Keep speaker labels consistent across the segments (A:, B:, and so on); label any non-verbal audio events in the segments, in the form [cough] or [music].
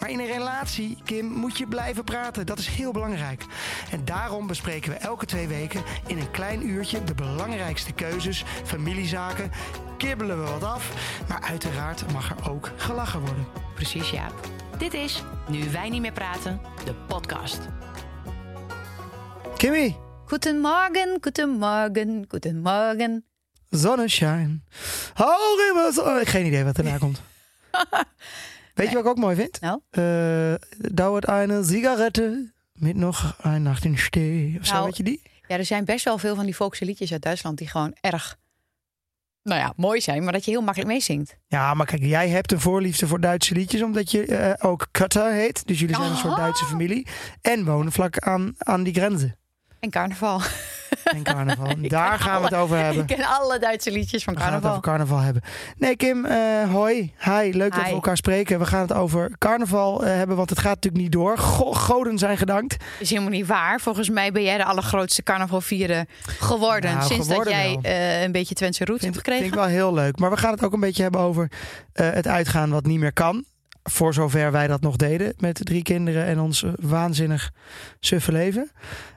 A: Maar in een relatie, Kim, moet je blijven praten. Dat is heel belangrijk. En daarom bespreken we elke twee weken in een klein uurtje de belangrijkste keuzes, familiezaken. Kibbelen we wat af, maar uiteraard mag er ook gelachen worden.
B: Precies, Jaap. Dit is Nu wij niet meer praten, de podcast.
A: Kimmy,
C: Goedemorgen, goedemorgen, goedemorgen.
A: zonneschijn. Hoog in mijn zon- Ik Geen idee wat [laughs] erna komt. Weet je wat ik ook mooi vind?
C: Nou,
A: Äh, dauert eine Zigarette mit noch ein Nacht in Stee. Of zo,
C: Nou,
A: weet je die?
C: ja, er zijn best wel veel van die volkse liedjes uit Duitsland die gewoon erg, nou ja, mooi zijn, maar dat je heel makkelijk meezingt.
A: Ja, maar kijk, jij hebt een voorliefde voor Duitse liedjes, omdat je eh, ook Cutter heet. Dus jullie zijn een soort
C: Oh.
A: Duitse familie. En wonen vlak aan, aan die grenzen.
C: En carnaval. [laughs]
A: En carnaval. Daar gaan we het over hebben.
C: Ik ken alle Duitse liedjes van
A: We gaan het over
C: carnaval.
A: carnaval hebben. Nee, Kim, eh, hoi. Hi, leuk dat
C: Hi.
A: we elkaar spreken. We gaan het over carnaval eh, hebben, want het gaat natuurlijk niet door. Go- goden zijn gedankt.
C: is helemaal niet waar. Volgens mij ben jij de allergrootste carnavalvierder geworden
A: Nou,
C: sinds
A: geworden
C: dat jij
A: wel.
C: eh, een beetje Twentse roots hebt
A: Vind,
C: gekregen.
A: vind ik wel heel leuk. Maar we gaan het ook een beetje hebben over eh, het uitgaan wat niet meer kan. Voor zover wij dat nog deden met drie kinderen en ons eh, waanzinnig suffe leven.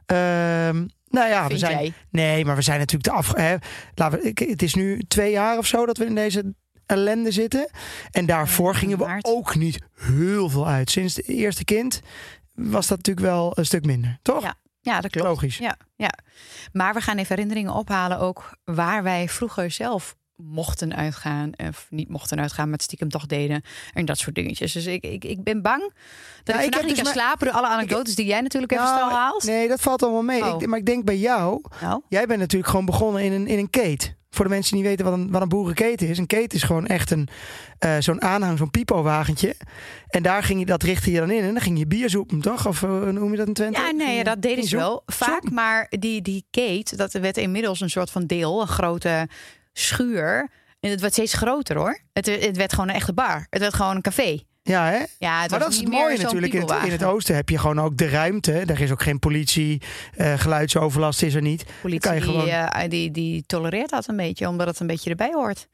A: Ehm, nou ja, we
C: Vind
A: zijn.
C: jij?
A: Nee, maar we zijn natuurlijk de af. Hè, laten we, ik- het is nu twee jaar of zo dat we in deze ellende zitten. En daarvoor gingen we
C: maart.
A: ook niet heel veel uit. Sinds het eerste kind was dat natuurlijk wel een stuk minder, toch?
C: Ja, dat klopt.
A: Logisch.
C: Ja, ja. Maar we gaan even herinneringen ophalen ook waar wij vroeger zelf mochten uitgaan of niet mochten uitgaan, maar het stiekem toch deden en dat soort dingetjes. Dus ik, ik, ik ben bang dat
A: Nou, ik
C: ik,
A: heb
C: vandaag niet
A: dus
C: kan
A: maar-
C: slapen door alle anekdotes die jij natuurlijk even
A: Nou,
C: snel haalt.
A: Nee, dat valt allemaal mee.
C: Oh.
A: Ik, maar ik denk bij jou,
C: Nou,
A: Jij bent natuurlijk gewoon begonnen in een, in een keet. Voor de mensen die niet weten wat een, wat een boerenketen is. Een keet is gewoon echt een, eh, zo'n aanhang, zo'n pipo-wagentje. En daar ging je, dat richtte je dan in. En dan ging je bier zoepen, toch? Of eh, hoe noem je dat in Twente?
C: ja,
A: Ging
C: nee,
A: je-
C: ja, dat deden
A: ging
C: ze
A: je
C: wel vaak,
A: zoeken.
C: maar die, die Kate, dat werd inmiddels een soort van deel, een grote schuur. En het werd steeds groter hoor. Het, het werd gewoon een echte bar. Het werd gewoon een café.
A: Ja, hè?
C: Ja, het was
A: Maar dat is het
C: niet meer
A: mooie
C: zo'n
A: natuurlijk. In het, in het
C: piepelwagen.
A: oosten heb je gewoon ook de ruimte. Daar is ook geen politie. eh, geluidsoverlast is er niet.
C: politie
A: Dan kan je
C: die,
A: gewoon-
C: eh, die, die tolereert dat een beetje, omdat het een beetje erbij hoort.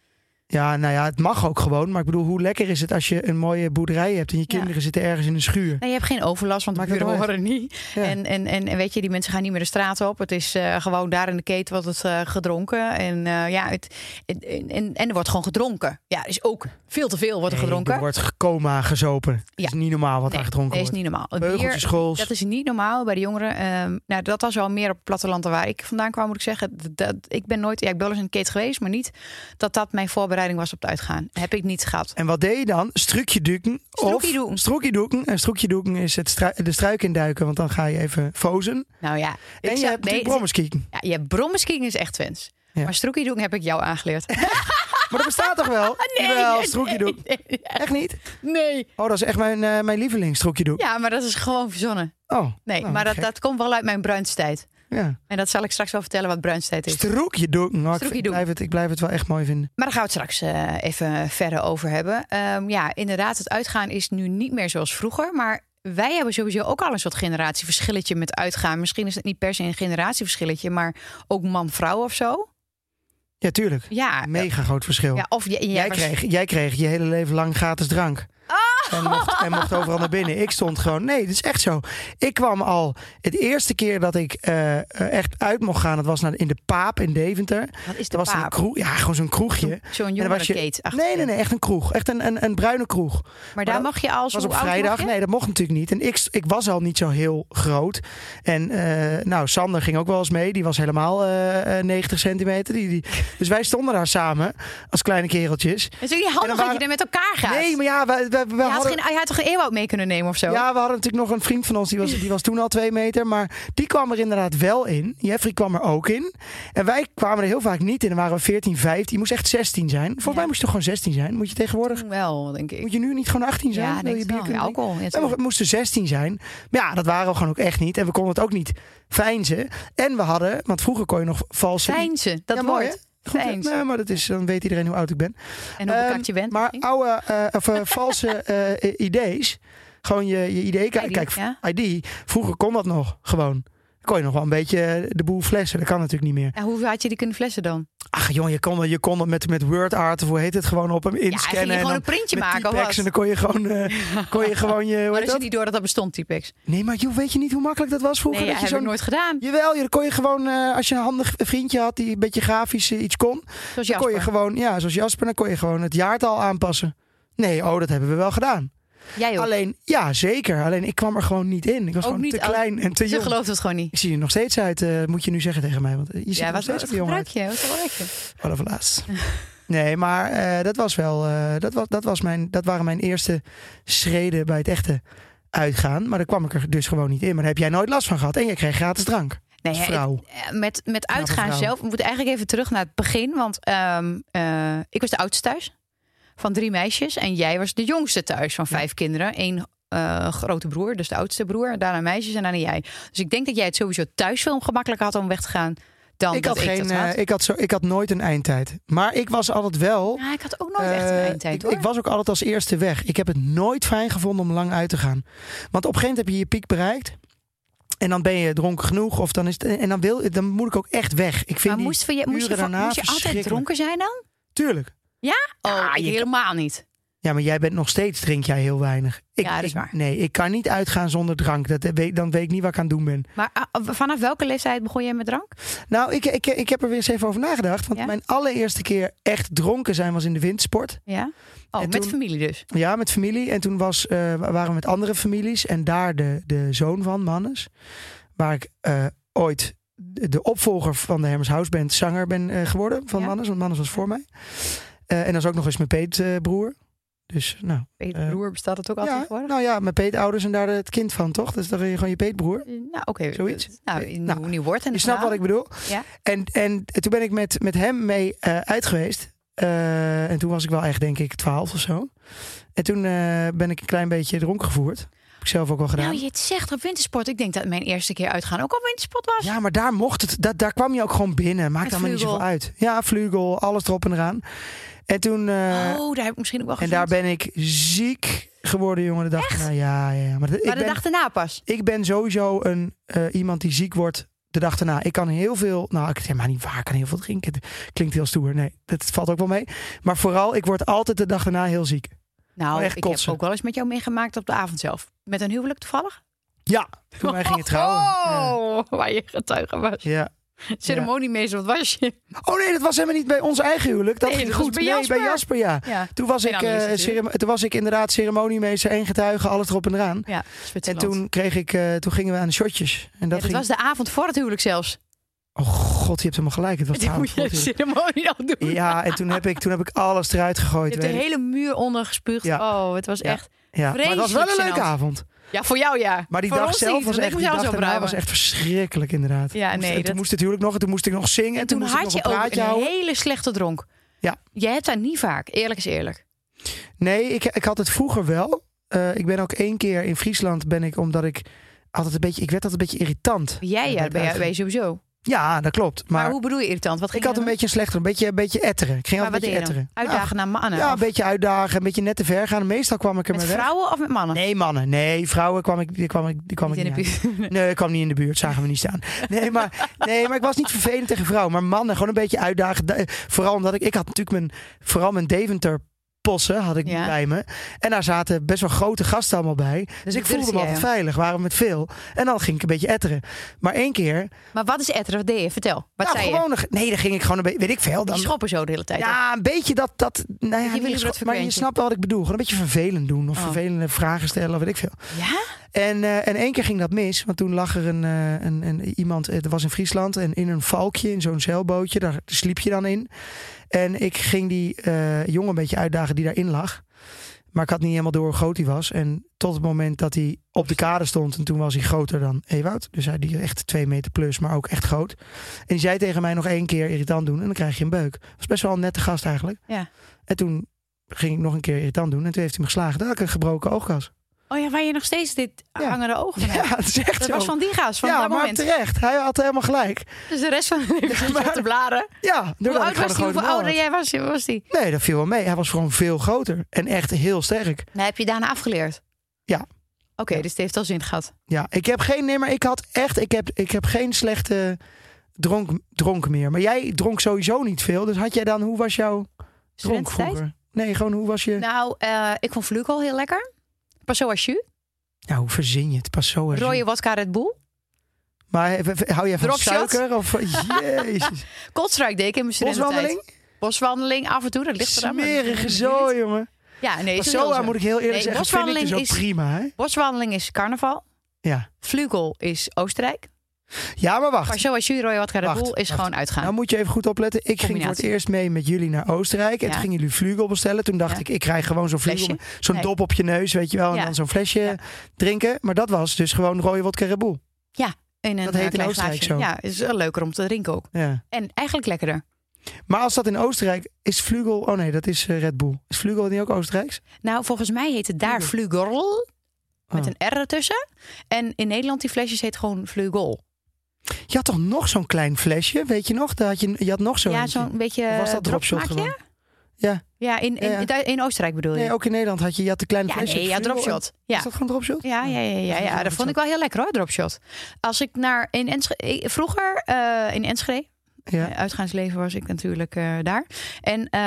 A: Ja, nou ja, het mag ook gewoon. Maar ik bedoel, hoe lekker is het als je een mooie boerderij hebt... en je
C: Ja.
A: kinderen zitten ergens in een schuur.
C: Nee, je hebt geen overlast, want de
A: Maakt het
C: buren
A: wel uit.
C: horen niet.
A: Ja.
C: En, en, en, en weet je, die mensen gaan niet meer de straat op. Het is eh, gewoon daar in de keten wordt het eh, gedronken. En eh, ja, het, en, en, en er wordt gewoon gedronken. Ja, er is ook veel te veel wordt er
A: Nee,
C: gedronken.
A: Er wordt coma gezopen. Het
C: Ja.
A: is niet normaal wat daar
C: Nee,
A: gedronken
C: dat is
A: wordt.
C: niet normaal. Een
A: Beugeltjes,
C: bier,
A: schools.
C: dat is niet normaal bij de jongeren. Ehm, nou, dat was wel meer op het platteland dan waar ik vandaan kwam, moet ik zeggen. Dat, dat- ik ben nooit, ja, ik ben wel eens in een keten geweest, maar niet dat dat mijn voorbereiding was op het uitgaan. Heb ik niet gehad.
A: En wat deed je dan? Strukje duiken of
C: Stroekiedoeken.
A: strukje duiken. En strukje duiken is het strui- de struik induiken, want dan ga je even fozen.
C: Nou ja, ik
A: En je
C: zou-
A: hebt
C: nee,
A: natuurlijk brommers kieken.
C: Ja, je brommeskieken is echt Twents.
A: Ja.
C: Maar stroekiedoek heb ik jou aangeleerd.
A: [laughs] Maar dat bestaat toch
C: [laughs]
A: wel? Jawel, stroekje doen.
C: nee, nee,
A: Echt niet?
C: nee.
A: Oh, dat is echt mijn, eh, mijn lieveling, stroekje doen.
C: Ja, maar dat is gewoon verzonnen.
A: Oh,
C: Nee,
A: Nou,
C: maar dat,
A: gek.
C: dat komt wel uit mijn bruinstijd.
A: ja.
C: En dat zal ik straks wel vertellen wat bruinstijd is.
A: Stroekje doen. Nou, ik- ik,
C: Stroekiedoek.
A: blijf het, ik blijf het wel echt mooi vinden.
C: Maar daar gaan we het straks eh, even verder over hebben. Ehm, ja, inderdaad, het uitgaan is nu niet meer zoals vroeger. Maar wij hebben sowieso ook al een soort generatieverschilletje met uitgaan. Misschien is het niet per se een generatieverschilletje, maar ook man-vrouw of zo.
A: Ja, tuurlijk.
C: Ja, eh,
A: Mega groot verschil.
C: ja of j- jij,
A: jij,
C: was-
A: kreeg, jij kreeg je hele leven lang gratis drank.
C: Ah!
A: En, mocht, en mocht overal naar binnen. Ik stond gewoon. Nee, dat is echt zo. Ik kwam al. Het eerste keer dat ik eh, eh, echt uit mocht gaan, dat was naar, in de Paap in Deventer.
C: Wat is de
A: Dat was een
C: paap?
A: kroeg. Ja, gewoon zo'n kroegje.
C: Zo'n
A: En dan was je-
C: jongerenkeet. achter
A: Nee,
C: je.
A: nee, nee. Echt een kroeg. Echt een, een, een bruine kroeg.
C: Maar daar
A: dat
C: mag je als
A: was
C: hoe
A: op
C: oud mag
A: vrijdag.
C: je?
A: Nee, dat mocht natuurlijk niet. En ik, ik was al niet zo heel groot. En eh, nou, Sander ging ook wel eens mee. Die was helemaal eh, eh, 90 centimeter. Die, die... Dus wij stonden daar samen als kleine kereltjes.
C: Het is ook niet handig
A: En dan
C: dat je er met elkaar gaat.
A: Nee, maar ja, we, we, we
C: had had,
A: hadden-
C: geen, hij had toch een eeuwoud mee kunnen nemen of zo?
A: Ja, we hadden natuurlijk nog een vriend van ons, die was, die was toen al twee meter. Maar die kwam er inderdaad wel in. Jeffrey kwam er ook in. En wij kwamen er heel vaak niet in. Dan waren we 14, 15. Je moest echt 16 zijn. Volgens mij moest je toch gewoon 16 zijn? Moet je tegenwoordig...
C: Toen Mm, wel, denk ik.
A: Moet je nu niet gewoon 18 zijn?
C: ja,
A: Wil
C: denk
A: je
C: ik
A: bier
C: wel. Ja,
A: kunnen drinken?
C: alcohol. Ja,
A: We moesten 16 zijn. Maar ja, dat waren we gewoon ook echt niet. En we konden het ook niet fijnzen. En we hadden, want vroeger kon je nog valse...
C: Fijn ze, dat
A: Ja, mooi,
C: woord.
A: hè? Goed, hè?
C: Fijnzen.
A: Nee, maar dat is, dan weet iedereen hoe oud ik ben.
C: En hoe
A: Ehm,
C: bekakt je bent.
A: Maar
C: misschien.
A: oude, eh,
C: [laughs]
A: of eh, valse eh, eh, idee's. Gewoon je, je idee. Kijk,
C: ID,
A: kijk,
C: ja.
A: ID. Vroeger kon dat nog gewoon. Dan kon je nog wel een beetje eh, de boel flessen. Dat kan natuurlijk niet meer.
C: En hoe had je die kunnen flessen dan?
A: Ach jongen, je kon, je kon dat met, met word art of hoe heet het gewoon op hem
C: Ja,
A: inscannen.
C: ging je
A: en
C: gewoon
A: dan
C: een printje
A: met
C: maken of
A: T-Pex
C: wat?
A: en dan kon je gewoon, eh,
C: [laughs]
A: kon je, gewoon je... Hoe
C: Maar
A: heet
C: is het
A: dat?
C: niet door dat dat bestond, Typex?
A: Nee, maar joh, weet je niet hoe makkelijk dat was vroeger?
C: Nee, dat
A: dat je
C: heb ik
A: zo'n-
C: nooit gedaan.
A: Jawel, joh, dan kon je gewoon, eh, als je een handig vriendje had die een beetje grafisch eh, iets kon,
C: Zoals
A: Dan
C: Jasper.
A: kon je gewoon, ja, zoals Jasper, dan kon je gewoon het jaartal aanpassen. Nee, oh, dat hebben we wel gedaan.
C: Jij ook.
A: Alleen, ja, zeker. Alleen, ik kwam er gewoon niet in. Ik was
C: Ook
A: gewoon
C: niet
A: te
C: al-
A: klein en te
C: Ze
A: jong.
C: gelooft het gewoon niet.
A: Ik zie er nog steeds uit, eh, moet je nu zeggen tegen mij. Want eh, je ziet
C: Ja,
A: er nog
C: wat, wat
A: steeds te jong
C: gebruik
A: uit.
C: je? Wat gebruik je?
A: Voilà, voilà.
C: [laughs]
A: Nee, maar eh, dat was wel... eh, dat, was, dat, was mijn, dat waren mijn eerste schreden bij het echte uitgaan. Maar daar kwam ik er dus gewoon niet in. Maar daar heb jij nooit last van gehad. En jij kreeg gratis drank.
C: Nee,
A: Als
C: hè,
A: vrouw.
C: eh, met, met uitgaan
A: vrouw.
C: zelf. We moeten eigenlijk even terug naar het begin. Want ehm, eh, ik was de oudste thuis van drie meisjes. En jij was de jongste thuis van vijf kinderen. Eén eh, grote broer, dus de oudste broer. Daarna meisjes en daarna jij. Dus ik denk dat jij het sowieso thuis veel gemakkelijker had om weg te gaan. Dan
A: ik
C: dat
A: had, geen,
C: ik dat
A: eh,
C: had.
A: ik, had zo, ik had nooit een eindtijd. Maar ik was altijd wel...
C: Ja, ik had ook nooit echt een
A: Eh,
C: eindtijd
A: ik,
C: hoor.
A: ik was ook altijd als eerste weg. Ik heb het nooit fijn gevonden om lang uit te gaan. Want op een gegeven moment heb je je piek bereikt. En dan ben je dronken genoeg. Of dan is het, en dan, wil, dan moet ik ook echt weg. Ik vind
C: maar
A: die-
C: moest, je, moest, je,
A: uren
C: van-
A: daarna
C: moest je altijd
A: verschrikkelijk.
C: dronken zijn dan?
A: Tuurlijk.
C: Oh,
A: Ja,
C: ik
A: je-
C: helemaal niet.
A: Ja, maar jij bent nog steeds, drink jij heel weinig. Ik,
C: Ja, dat is
A: ik-
C: waar.
A: Nee, ik kan niet uitgaan zonder drank. Dat, weet- dan weet ik niet wat ik aan het doen ben.
C: Maar ah, vanaf welke leeftijd begon jij met drank?
A: Nou, ik, ik, ik heb er weer eens even over nagedacht. Want
C: Ja?
A: mijn allereerste keer echt dronken zijn was in de windsport.
C: Ja. Oh,
A: En
C: met
A: toen-
C: familie dus.
A: Ja, met familie. En toen was, eh, waren we met andere families. En daar de, de zoon van, Mannes. Waar ik eh, ooit de de opvolger van de Hermes House Band zanger ben eh, geworden. Van
C: Ja.
A: Mannes, want Mannes was voor mij. Eh, en dat is ook nog eens mijn peetbroer. dus nou,
C: Peter
A: Eh,
C: broer bestaat het ook altijd
A: ja,
C: tegenwoordig?
A: nou ja, mijn peetouders en daar het kind van, toch? Dus dan ben je gewoon je peetbroer.
C: Nou, oké.
A: zoiets.
C: dat- Nou, een
A: Nou,
C: nieuw- nieuw woord. En
A: Je
C: een
A: snapt wat
C: verhaal.
A: ik bedoel.
C: Ja.
A: En, en toen ben ik met, met hem mee eh, uit geweest. Eh, en toen was ik wel echt, denk ik, 12 of zo. En toen eh, ben ik een klein beetje dronken gevoerd. Heb ik zelf ook wel gedaan.
C: Nou, je het zegt op wintersport. Ik denk dat mijn eerste keer uitgaan ook op wintersport was.
A: Ja, maar daar mocht het. Dat, daar kwam je ook gewoon binnen. Maakt
C: Met
A: allemaal niet
C: vleugel.
A: zoveel uit. Ja, vlugel, alles erop en eraan. En toen. eh,
C: oh, daar heb ik misschien ook wel
A: en
C: gezien.
A: daar ben ik ziek geworden, jongen. De dag daarna. Ja, ja, ja. Maar, dat-
C: Maar
A: ik,
C: de
A: ben,
C: dag daarna pas.
A: ik ben sowieso een, eh, iemand die ziek wordt de dag daarna. Ik kan heel veel. Nou, ik zeg maar niet waar. Ik kan heel veel drinken. Klinkt heel stoer. Nee, dat valt ook wel mee. Maar vooral, ik word altijd de dag daarna heel ziek.
C: Nou,
A: echt
C: ik
A: kotsen.
C: heb ook wel eens met jou meegemaakt op de avond zelf. Met een huwelijk toevallig.
A: Ja, toen wij gingen trouwen. Ja.
C: [laughs] Oh, waar je getuige was.
A: Ja.
C: Ceremoniemeester, wat was je?
A: Oh nee, dat was helemaal niet bij ons eigen huwelijk. Dat
C: Nee,
A: ging
C: dat was
A: goed.
C: bij
A: nee, bij
C: Jasper.
A: Jasper, ja.
C: Ja,
A: Toen was,
C: Nee,
A: ik,
C: dan is
A: eh,
C: het natuurlijk.
A: ceremo- toen was ik inderdaad ceremoniemeester en getuige, alles erop en eraan.
C: ja
A: En
C: Zwitserland.
A: toen, kreeg ik, eh, toen gingen we aan de shotjes. En
C: Ja,
A: dat
C: dat
A: ging...
C: was de avond voor het huwelijk zelfs.
A: Oh god, je hebt helemaal gelijk. Het was
C: Die moet
A: trouwens
C: je de
A: goed,
C: ceremonie al doen.
A: joh. Ja, en toen heb ik, toen heb ik alles eruit
C: je
A: gegooid.
C: hebt de
A: weet ik.
C: hele muur ondergespuugd.
A: Ja.
C: Oh, het was
A: Ja.
C: echt...
A: ja. Maar het was wel een
C: vreselijk
A: leuke
C: gênant.
A: avond.
C: Ja, voor jou ja.
A: Maar die
C: Voor
A: dag
C: ons
A: zelf
C: niet,
A: was
C: want
A: echt,
C: ik
A: die
C: moest
A: dag
C: alles
A: daarna was
C: opruimen.
A: echt verschrikkelijk inderdaad.
C: nou Ja,
A: Moest-
C: nee,
A: en toen
C: dat-
A: moest het huwelijk nog en toen moest ik nog zingen. En
C: En toen
A: toen, moest ik
C: had
A: nog
C: je
A: een
C: ook
A: praatje
C: een
A: houden.
C: hele slechte dronk.
A: Ja.
C: Je hebt dat niet vaak. Eerlijk is eerlijk.
A: Nee, ik, ik had het vroeger wel. Eh, ik ben ook één keer in Friesland ben ik, omdat ik altijd een beetje, ik werd altijd een beetje irritant.
C: Jij
A: Ja,
C: ja,
A: dat
C: ben, jij,
A: eigenlijk.
C: ben je sowieso. Maar,
A: Ja, dat klopt. Maar,
C: hoe bedoel je irritant? Wat ging
A: ik had
C: je
A: een
C: dan
A: beetje een slechter, een beetje, een beetje etteren. Ik ging
C: doen? Maar wat
A: altijd
C: deed
A: een beetje
C: je dan?
A: etteren.
C: Uitdagen naar
A: Ja,
C: mannen?
A: ja, een
C: of
A: beetje uitdagen, een beetje net te ver gaan. Meestal kwam ik er
C: met
A: maar weg.
C: vrouwen of met mannen?
A: Nee, mannen. Nee, vrouwen kwam ik, die kwam ik, die kwam
C: Niet
A: ik
C: in de
A: niet
C: buurt.
A: aan. Nee, ik kwam niet in de buurt, zagen we niet staan. Nee, maar, nee, maar ik was niet vervelend tegen vrouwen. Maar mannen, gewoon een beetje uitdagen. Da- eh, Vooral omdat ik, ik had natuurlijk mijn, vooral mijn Deventer possen had ik
C: Ja.
A: bij me. En daar zaten best wel grote gasten allemaal bij. Dus, ik
C: dat
A: voelde
C: durfde
A: me altijd
C: jij,
A: veilig, waren we met veel. En dan ging ik een beetje etteren. Maar één keer,
C: [laughs] Maar wat is etteren? Wat deed je? Vertel. Wat
A: nou,
C: zei
A: gewoon, een ge- nee, dan ging ik gewoon een beetje, weet ik veel.
C: je?
A: Dan,
C: Die schoppen zo de hele tijd. hè?
A: ja, een beetje dat. dat nou ja,
C: wil
A: niet
C: liever dat
A: scho- maar je
C: verkwijntje.
A: snapt wel wat ik bedoel. Gewoon een beetje vervelend doen. Of
C: Oh.
A: vervelende vragen stellen, of weet ik veel.
C: ja?
A: En, eh, en één keer ging dat mis. Want toen lag er een, eh, een, een, iemand. eh, Dat was in Friesland. En in een valkje, in zo'n zeilbootje. Daar sliep je dan in. En ik ging die eh, jongen een beetje uitdagen die daarin lag. Maar ik had niet helemaal door hoe groot hij was. En tot het moment dat hij op de kade stond. En toen was hij groter dan Ewoud. Dus hij die is echt twee meter plus, maar ook echt groot. En die zei tegen mij nog één keer irritant doen. En dan krijg je een beuk. Was best wel een nette gast eigenlijk.
C: Ja.
A: En toen ging ik nog een keer irritant doen. En toen heeft hij me geslagen. Daar had ik een gebroken oogkas.
C: Oh ja, waar je nog steeds dit
A: Ja.
C: hangende oog van hebt.
A: [laughs] Ja, het is echt
C: Dat
A: zo.
C: was van die gaas van
A: ja,
C: dat
A: maar
C: moment.
A: terecht. Hij had helemaal gelijk.
C: Dus de rest van
A: [laughs]
C: de leven zit je op te blaren.
A: Ja,
C: Hoe
A: doordat ik
C: oud
A: gewoon
C: was die?
A: een grote
C: Hoeveel
A: bal
C: ouder
A: had.
C: jij was, was die?
A: Nee, dat viel wel mee. Hij was gewoon veel groter. En echt heel sterk.
C: Nou, heb je daarna afgeleerd?
A: Ja.
C: Oké, dus het heeft al zin gehad.
A: Ja, ik heb geen nee, maar Ik had echt. Ik heb, ik heb geen slechte dronk, dronk meer. Maar jij dronk sowieso niet veel. Dus had jij dan. Hoe was jouw dronk
C: Studententijd?
A: vroeger? Nee, gewoon hoe was je. Nou,
C: Nou, eh, ik vond Vluk al heel lekker. Passo als jus.
A: hoe verzin je het? Pas zo. hè.
C: Rode wodka Red Bull.
A: Maar eh, v- v- hou jij van
C: Dropshot?
A: suiker?
C: [laughs]
A: Of, jezus.
C: Kotsruik deed ik in mijn studententijd.
A: Boswandeling?
C: Boswandeling, af en toe. Dat ligt er aan. maar dat
A: Smerige
C: doe je
A: zo,
C: niet.
A: jongen.
C: Ja, nee.
A: Pas
C: is wel
A: zo aan moet ik heel eerlijk
C: Nee,
A: zeggen. Vind ik dus ook
C: boswandeling is-
A: prima, hè?
C: Boswandeling is carnaval.
A: Ja.
C: Vlugel is Oostenrijk.
A: Ja, maar wacht.
C: Passo als jus, rode wodka Red
A: Wacht,
C: Bull is
A: wacht.
C: gewoon uitgaan.
A: Nou moet je even goed opletten. Ik ging voor het
C: Ah. Combinatie.
A: eerst mee met jullie naar Oostenrijk. En
C: Ja.
A: toen gingen jullie vlugel bestellen. Toen dacht
C: Ja.
A: ik, ik krijg gewoon zo'n vlugel.
C: Flesje?
A: met- Zo'n
C: Nee.
A: dop op je neus, weet je wel. En
C: Ja.
A: dan zo'n flesje
C: Ja.
A: drinken. Maar dat was dus gewoon rode wodka Red Bull.
C: in een
A: dat
C: eh,
A: heet in
C: klein
A: Oostenrijk
C: glaasje.
A: zo.
C: Ja, is wel leuker om te drinken ook.
A: Ja.
C: En eigenlijk lekkerder.
A: Maar als dat in Oostenrijk is vlugel... Oh nee, dat is eh, Red Bull. Is vlugel niet ook Oostenrijks?
C: Nou, volgens mij heet het daar Vlugel. Met
A: Oh.
C: een R ertussen. En in Nederland die flesjes heet gewoon Vlugel.
A: Je had toch nog zo'n klein flesje, weet je nog? Daar had je, je had nog zo'n
C: ja,
A: eentje.
C: zo'n beetje
A: Of was dat
C: eh,
A: dropshot
C: dropsmaakje?
A: gewoon? Ja.
C: Ja, in, in,
A: Ja, ja.
C: in Oostenrijk bedoel je?
A: Nee, ook in Nederland had je, je had een klein
C: ja,
A: flesje.
C: nee, ja,
A: Vlugel en-
C: dropshot. Ja.
A: Is dat gewoon dropshot?
C: Ja, ja, ja, ja,
A: Dat is
C: ja.
A: wel
C: dat vond ik wel heel lekker hoor, dropshot. Als ik naar in Enschede, ik- vroeger eh, in Enschede,
A: Ja.
C: eh, uitgaansleven was ik natuurlijk eh, daar. En eh,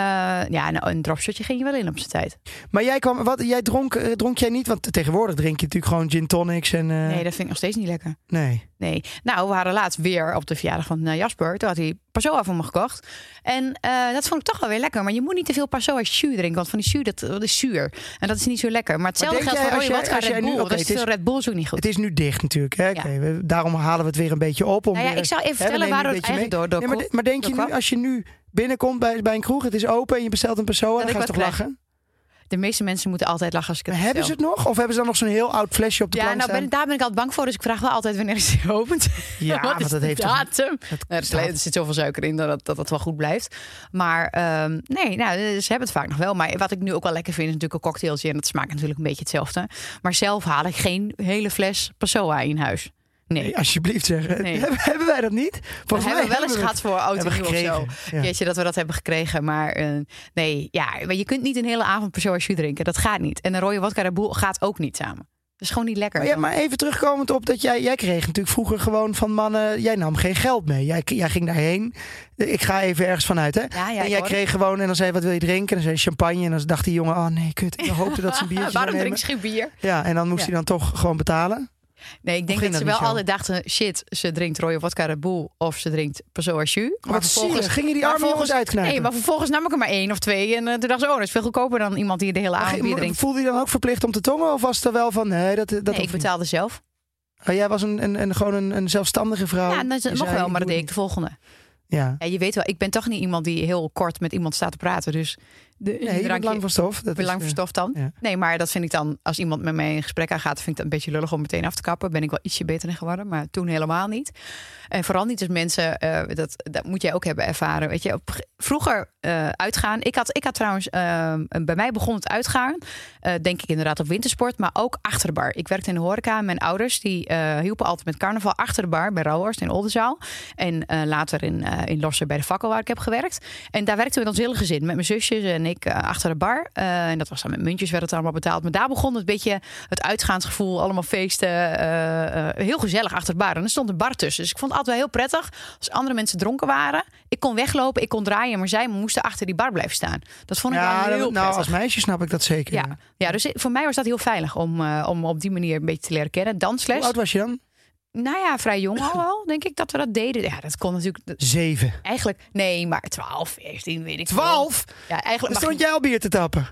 C: ja, nou, een dropshotje ging je wel in op zijn tijd.
A: Maar jij, kwam, wat, jij dronk, eh, dronk jij niet? Want tegenwoordig drink je natuurlijk gewoon gin tonics en... eh,
C: Nee, dat vind ik nog steeds niet lekker.
A: nee.
C: Nee. Nou, we waren laatst weer op de verjaardag van eh, Jasper. Toen had hij Passoa voor me gekocht. En eh, dat vond ik toch wel weer lekker. Maar je moet niet te veel Passoa jus drinken. Want van die zuur, dat, dat is zuur. En dat is niet zo lekker. Maar hetzelfde
A: denk
C: geldt
A: jij
C: voor
A: als
C: rode
A: jij-
C: wodka
A: als jij
C: Red
A: nu-
C: Bull.
A: oké,
C: dat is
A: het is-
C: veel Red Bull is ook niet goed.
A: Het is nu dicht natuurlijk. Hè?
C: Ja.
A: Oké, we- daarom halen we het weer een beetje op. Om
C: nou ja,
A: weer-
C: ik zal even
A: hè, we
C: vertellen
A: nemen
C: waar
A: een
C: het
A: beetje
C: eigenlijk door, door
A: mee. Nee, maar,
C: kwam.
A: de- maar denk je
C: Door
A: nu,
C: kwam.
A: als je nu binnenkomt bij, bij een kroeg, het is open en je bestelt een persoon, dan
C: ik
A: gaan ze
C: wat
A: toch
C: krijg.
A: lachen?
C: De meeste mensen moeten altijd lachen als ik het
A: Maar hebben ze
C: vertel.
A: het nog? Of hebben ze dan nog zo'n heel oud flesje op de
C: Ja,
A: plank
C: nou ben, ik-
A: staan?
C: daar ben ik altijd bang voor. Dus ik vraag wel altijd wanneer is [laughs] die opent.
A: Ja,
C: Wat
A: want
C: is
A: dat
C: de
A: heeft toch-
C: datum?
A: dat
C: Nee, Nou, er, is-
A: staat-
C: er zit zoveel suiker in dat het- dat het wel goed blijft. Maar ehm, nee, nou, ze hebben het vaak nog wel. Maar wat ik nu ook wel lekker vind is natuurlijk een cocktailtje. En dat smaakt natuurlijk een beetje hetzelfde. Maar zelf haal ik geen hele fles Passoa in huis. Nee.
A: Nee, alsjeblieft zeggen.
C: Nee.
A: [laughs] Hebben, hebben wij dat niet?
C: we
A: Volgens mij
C: hebben wel eens
A: we
C: gehad
A: het.
C: voor oud en nieuw
A: Hebben
C: of zo.
A: gekregen, ja.
C: Jeetje, dat we dat hebben gekregen. Maar eh, nee, ja, maar je kunt niet een hele avond Passoa jus drinken. Dat gaat niet. En een rode wodka Red Bull gaat ook niet samen. Dat is gewoon niet lekker.
A: Maar, ja, maar even terugkomend op dat jij, jij kreeg natuurlijk vroeger gewoon van mannen, jij nam geen geld mee. Jij, jij ging daarheen. Ik ga even ergens vanuit, hè?
C: Ja, ja,
A: en
C: ik
A: jij
C: hoor
A: kreeg gewoon, en dan zei je, wat wil je drinken? En dan zei je champagne. En dan dacht die jongen, oh nee, kut. Ik hoopte dat
C: [laughs]
A: ze een biertje zou
C: Waarom drink
A: nemen.
C: je geen bier?
A: Ja, en dan moest
C: Ja.
A: hij dan toch gewoon betalen.
C: Nee, ik denk
A: ging
C: dat ze
A: dat
C: wel
A: niet zo?
C: altijd dachten: shit, ze drinkt rode vodka Red Bull of ze drinkt Passoa jus. Maar
A: Wat zielig. Ging je die arme jongens uitknijpen?
C: Nee, maar vervolgens nam ik er maar één of twee. En eh, toen dacht ze: oh, dat is veel goedkoper dan iemand die de hele avond bier drinkt.
A: Voelde hij dan ook verplicht om te tongen? Of was het er wel van, nee, dat, dat
C: Nee, ik
A: hoeft niet?
C: betaalde zelf.
A: Oh, jij was een, een, een, gewoon een, een zelfstandige vrouw.
C: ja, dat
A: Die
C: mocht
A: zei,
C: wel, maar dat
A: doe
C: deed ik de volgende.
A: niet. Ja.
C: Ja, je weet wel, ik ben toch niet iemand die heel kort met iemand staat te praten. Dus de, een
A: Nee, je bent
C: drankje-
A: lang van stof. Dat
C: Ik ben
A: is,
C: lang
A: eh,
C: verstoft dan.
A: ja.
C: Nee, maar dat vind ik dan, als iemand met mij in gesprek aangaat, vind ik dat een beetje lullig om meteen af te kappen. Ben ik wel ietsje beter in geworden, maar toen helemaal niet. En vooral niet als mensen, eh, dat, dat moet jij ook hebben ervaren. Weet je, op, ge- vroeger eh, uitgaan. Ik had, ik had trouwens, eh, een- bij mij begon het uitgaan, eh, denk ik inderdaad op wintersport, maar ook achter de bar. Ik werkte in de horeca. en Mijn ouders die eh, hielpen altijd met carnaval achter de bar bij Rauhorst in Oldenzaal. En eh, later in, eh in Lossen bij de Fakkel waar ik heb gewerkt. En daar werkten we met ons hele gezin. Met mijn zusjes en ik eh, achter de bar. Eh, en dat was dan met muntjes werd het allemaal betaald. Maar daar begon het beetje het uitgaansgevoel. Allemaal feesten. eh, eh, heel gezellig achter de bar. En er stond een bar tussen. Dus ik vond het altijd wel heel prettig. Als andere mensen dronken waren. Ik kon weglopen, ik kon draaien. Maar zij moesten achter die bar blijven staan. Dat vond ik wel
A: Ja,
C: heel
A: dat-
C: prettig.
A: nou, als meisje snap ik dat zeker.
C: ja. ja, dus voor mij was dat heel veilig om, eh, om op die manier een beetje te leren kennen.
A: Hoe
C: Dansles.
A: oud was je dan?
C: Nou ja, vrij jong al wel, [laughs] denk ik, dat we dat deden. Ja, dat kon natuurlijk.
A: Zeven.
C: Eigenlijk, nee, maar 12, 14, weet ik veel.
A: Twaalf?
C: Ja, eigenlijk
A: Dan
C: mag
A: stond
C: niet.
A: jij al bier te tappen.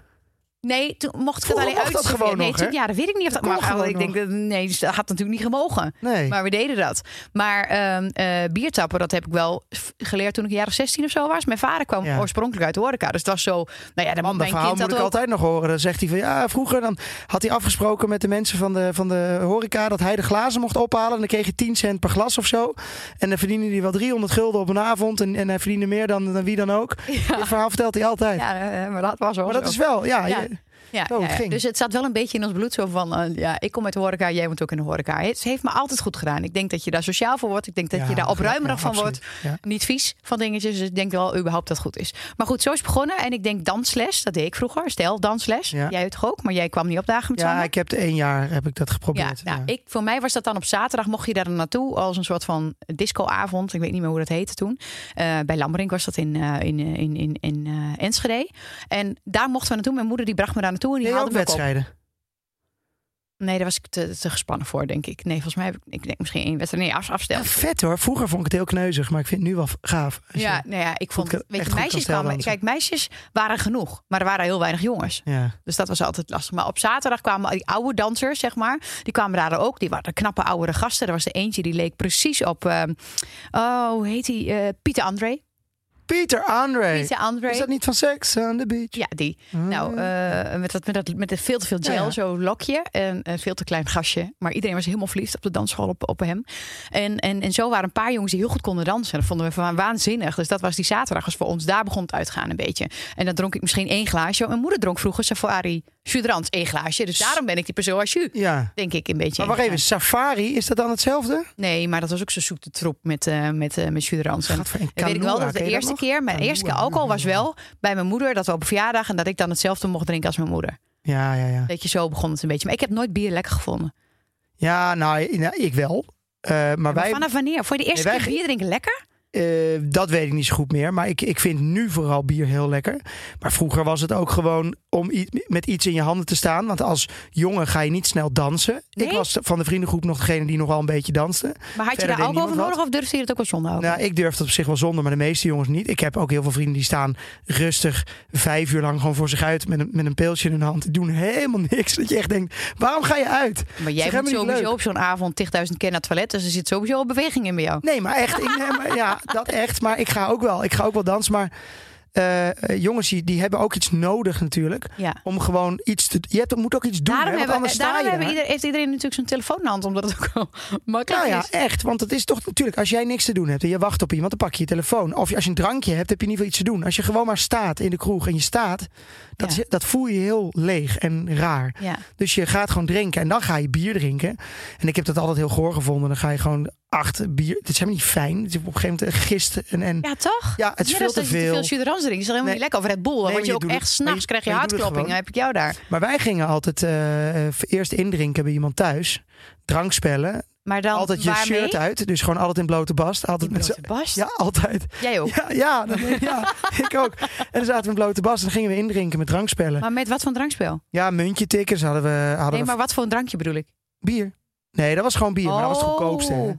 C: Nee, toen mocht ik het
A: Vroeger
C: alleen
A: mocht dat
C: uitzoeken.
A: gewoon
C: nee,
A: nog,
C: toen-
A: hè?
C: ja, dat weet ik niet of dat
A: Dat kon
C: maar
A: gewoon
C: ik denk
A: nog.
C: dat nee, dus dat had natuurlijk niet gemogen.
A: Nee.
C: Maar we deden dat. Maar ehm, eh, biertappen, dat heb ik wel f- geleerd toen ik een jaar of 16 of zo was. Mijn vader kwam
A: Ja.
C: oorspronkelijk uit de horeca. Dus het was zo, nou ja, dan moet
A: Man, dat
C: mijn
A: verhaal
C: kind dat
A: moet ik
C: ook.
A: altijd nog horen. Dan zegt hij van ja, vroeger dan had hij afgesproken met de mensen van de, van de horeca dat hij de glazen mocht ophalen. En dan kreeg je 10 cent per glas of zo. En dan verdiende hij wel 300 gulden op een avond. En, en hij verdiende meer dan, dan wie dan
C: [laughs]
A: ook. Dit verhaal vertelt hij altijd.
C: Ja, eh, maar dat was wel
A: maar dat
C: zo.
A: is wel, ja.
C: Ja.
A: je-
C: Ja,
A: Zo,
C: ja,
A: het
C: ja.
A: ging.
C: Dus het zat wel een beetje in ons bloed. Zo van, eh, ja, ik kom uit de horeca, jij moet ook in de horeca. Het heeft me altijd goed gedaan. Ik denk dat je daar sociaal voor wordt. Ik denk dat
A: Ja,
C: je daar
A: dat geloof ik
C: opruimerig
A: wel,
C: van wordt.
A: absoluut.
C: Niet vies van dingetjes. Dus ik denk wel überhaupt dat het goed is. Maar goed, zo is het begonnen. En ik denk dansles, dat deed ik vroeger. Stel, dansles.
A: Ja.
C: Jij toch ook? Maar jij kwam niet opdagen met
A: Ja,
C: Sander?
A: ik heb het één jaar heb ik dat geprobeerd.
C: Ja, nou,
A: ja.
C: Ik, voor mij was dat dan op zaterdag. Mocht je daar dan naartoe als een soort van discoavond. Ik weet niet meer hoe dat heette toen. Eh, bij Lamberink was dat in, eh, in, eh, in, in, in eh, Enschede. En daar mochten we naartoe. Mijn moeder die bracht me daar naartoe. En die
A: Deed je
C: haalde
A: ook
C: me ook op.
A: wedstrijden.
C: Nee, daar was ik te, te gespannen voor, denk ik. Nee, volgens mij heb ik, ik denk misschien één wedstrijd. Nee, af, afstel.
A: Ja, vet hoor. Vroeger vond ik het heel kneuzig, maar ik vind het nu wel gaaf. Als
C: Ja,
A: je-
C: nou ja, ik vond
A: kan-
C: het. Weet
A: echt
C: je,
A: goed kan
C: meisjes kwamen.
A: steldansen.
C: Kijk, meisjes waren genoeg, maar er waren heel weinig jongens.
A: ja.
C: Dus dat was altijd lastig. Maar op zaterdag kwamen die oude dansers, zeg maar. Die kwamen daar ook. Die waren knappe oudere gasten. Er was de eentje die leek precies op. ehm, oh, hoe heet die? Eh, Pieter André.
A: Pieter Andre.
C: Pieter André.
A: Is dat niet van Sex on the Beach?
C: Ja, die. Nou, eh, met, dat, met, dat, met dat veel te veel gel,
A: Ah. Ja.
C: zo lokje. En een veel te klein gasje. Maar iedereen was helemaal verliefd op de dansschool op, op hem. En, en, en zo waren een paar jongens die heel goed konden dansen. Dat vonden we wa- waanzinnig. Dus dat was die zaterdag. Was voor ons daar begon het uitgaan een beetje. En dan dronk ik misschien één glaasje. Mijn moeder dronk vroeger Safari Sudrans één glaasje. Dus daarom ben ik die persoon als je.
A: Ja.
C: Denk ik een beetje.
A: Maar wacht even, Safari, is dat dan hetzelfde?
C: Nee, maar dat was ook zo'n zoete troep met, eh met, eh met Sudrans. En
A: Wat voor een
C: dat weet ik wel
A: Canoa,
C: dat de
A: ken je dat
C: eerste
A: nog?
C: keer, mijn
A: Canoa,
C: eerste keer alcohol was wel bij mijn moeder. Dat we op verjaardag en dat ik dan hetzelfde mocht drinken als mijn moeder.
A: Ja, ja, ja.
C: Weet je, zo begon het een beetje. Maar ik heb nooit bier lekker gevonden.
A: Ja, nou, i- nou, ik wel. Eh, maar
C: Maar
A: wij,
C: vanaf wanneer? Voor de eerste
A: Nee, wij
C: keer
A: ge-
C: bier drinken lekker?
A: eh, dat weet ik niet zo goed meer. Maar ik, ik vind nu vooral bier heel lekker. Maar vroeger was het ook gewoon om i- met iets in je handen te staan. Want als jongen ga je niet snel dansen. Ik
C: Nee?
A: was van de vriendengroep nog degene die nogal een beetje danste.
C: Maar had je
A: Verder
C: daar
A: deed
C: alcohol voor
A: niemand
C: nodig of durfde je het ook wel zonder alcohol?
A: Nou, ik durf dat op zich wel zonder, maar de meeste jongens niet. Ik heb ook heel veel vrienden die staan rustig vijf uur lang gewoon voor zich uit met een, met een pilsje in hun hand. Die doen helemaal niks. Dat je echt denkt, waarom ga je uit?
C: maar
A: is
C: jij
A: helemaal
C: moet
A: niet
C: sowieso
A: leuk.
C: op zo'n avond 10.000 keer naar het toilet. Dus er zit sowieso al beweging in bij jou.
A: Nee, maar echt. Ik, nee, maar,
C: [laughs]
A: ja, dat echt. Maar ik ga ook wel. Ik ga ook wel dansen. Maar eh, eh, jongens, die, die hebben ook iets nodig natuurlijk.
C: Ja.
A: Om gewoon iets te... Je hebt, moet ook iets doen, hè,
C: Daarom,
A: want
C: hebben,
A: anders sta
C: daarom
A: je
C: hebben
A: daar.
C: ieder- heeft iedereen natuurlijk zo'n telefoon in de hand. Omdat het ook wel [laughs] makkelijk
A: Nou ja,
C: is.
A: echt. Want het is toch natuurlijk, als jij niks te doen hebt en je wacht op iemand, dan pak je je telefoon. Of je- als je een drankje hebt, heb je niet veel iets te doen. Als je gewoon maar staat in de kroeg en je staat, dat,
C: Ja.
A: is- dat voel je heel leeg en raar.
C: Ja.
A: Dus je gaat gewoon drinken en dan ga je bier drinken. En ik heb dat altijd heel goor gevonden. Dan ga je gewoon acht bier. Dit is helemaal niet fijn. Het is op een gegeven moment gisteren en. en
C: Ja, toch?
A: ja, het is
C: Ja,
A: veel
C: dat
A: te
C: is dat je
A: veel.
C: te veel Suderans drinkt. Is toch helemaal
A: Nee.
C: niet lekker. Of Red Bull. Dan
A: Nee,
C: word
A: maar
C: je,
A: je
C: ook
A: doet het-
C: echt
A: maar
C: s'nachts
A: je-
C: krijg je
A: maar je doet het
C: hartkloppingen.
A: gewoon.
C: Heb ik jou daar.
A: Maar wij gingen altijd eh, eh, eerst indrinken bij iemand thuis. Drankspellen.
C: Maar dan
A: Altijd je
C: waarmee?
A: shirt uit. Dus gewoon altijd in blote bast. Altijd
C: Die
A: met
C: blote bast?
A: z'n- Ja, altijd.
C: Jij ook.
A: Ja, ja, dat- ja [laughs] ik ook. En dan zaten we in blote bast en dan gingen we indrinken met drankspellen.
C: Maar met wat voor een drankspel?
A: Ja, muntje tikkers hadden we, hadden
C: Nee,
A: we
C: maar wat voor een drankje bedoel ik?
A: bier. Nee, dat was gewoon bier, maar dat was het
C: Oh.
A: goedkoopste. hè.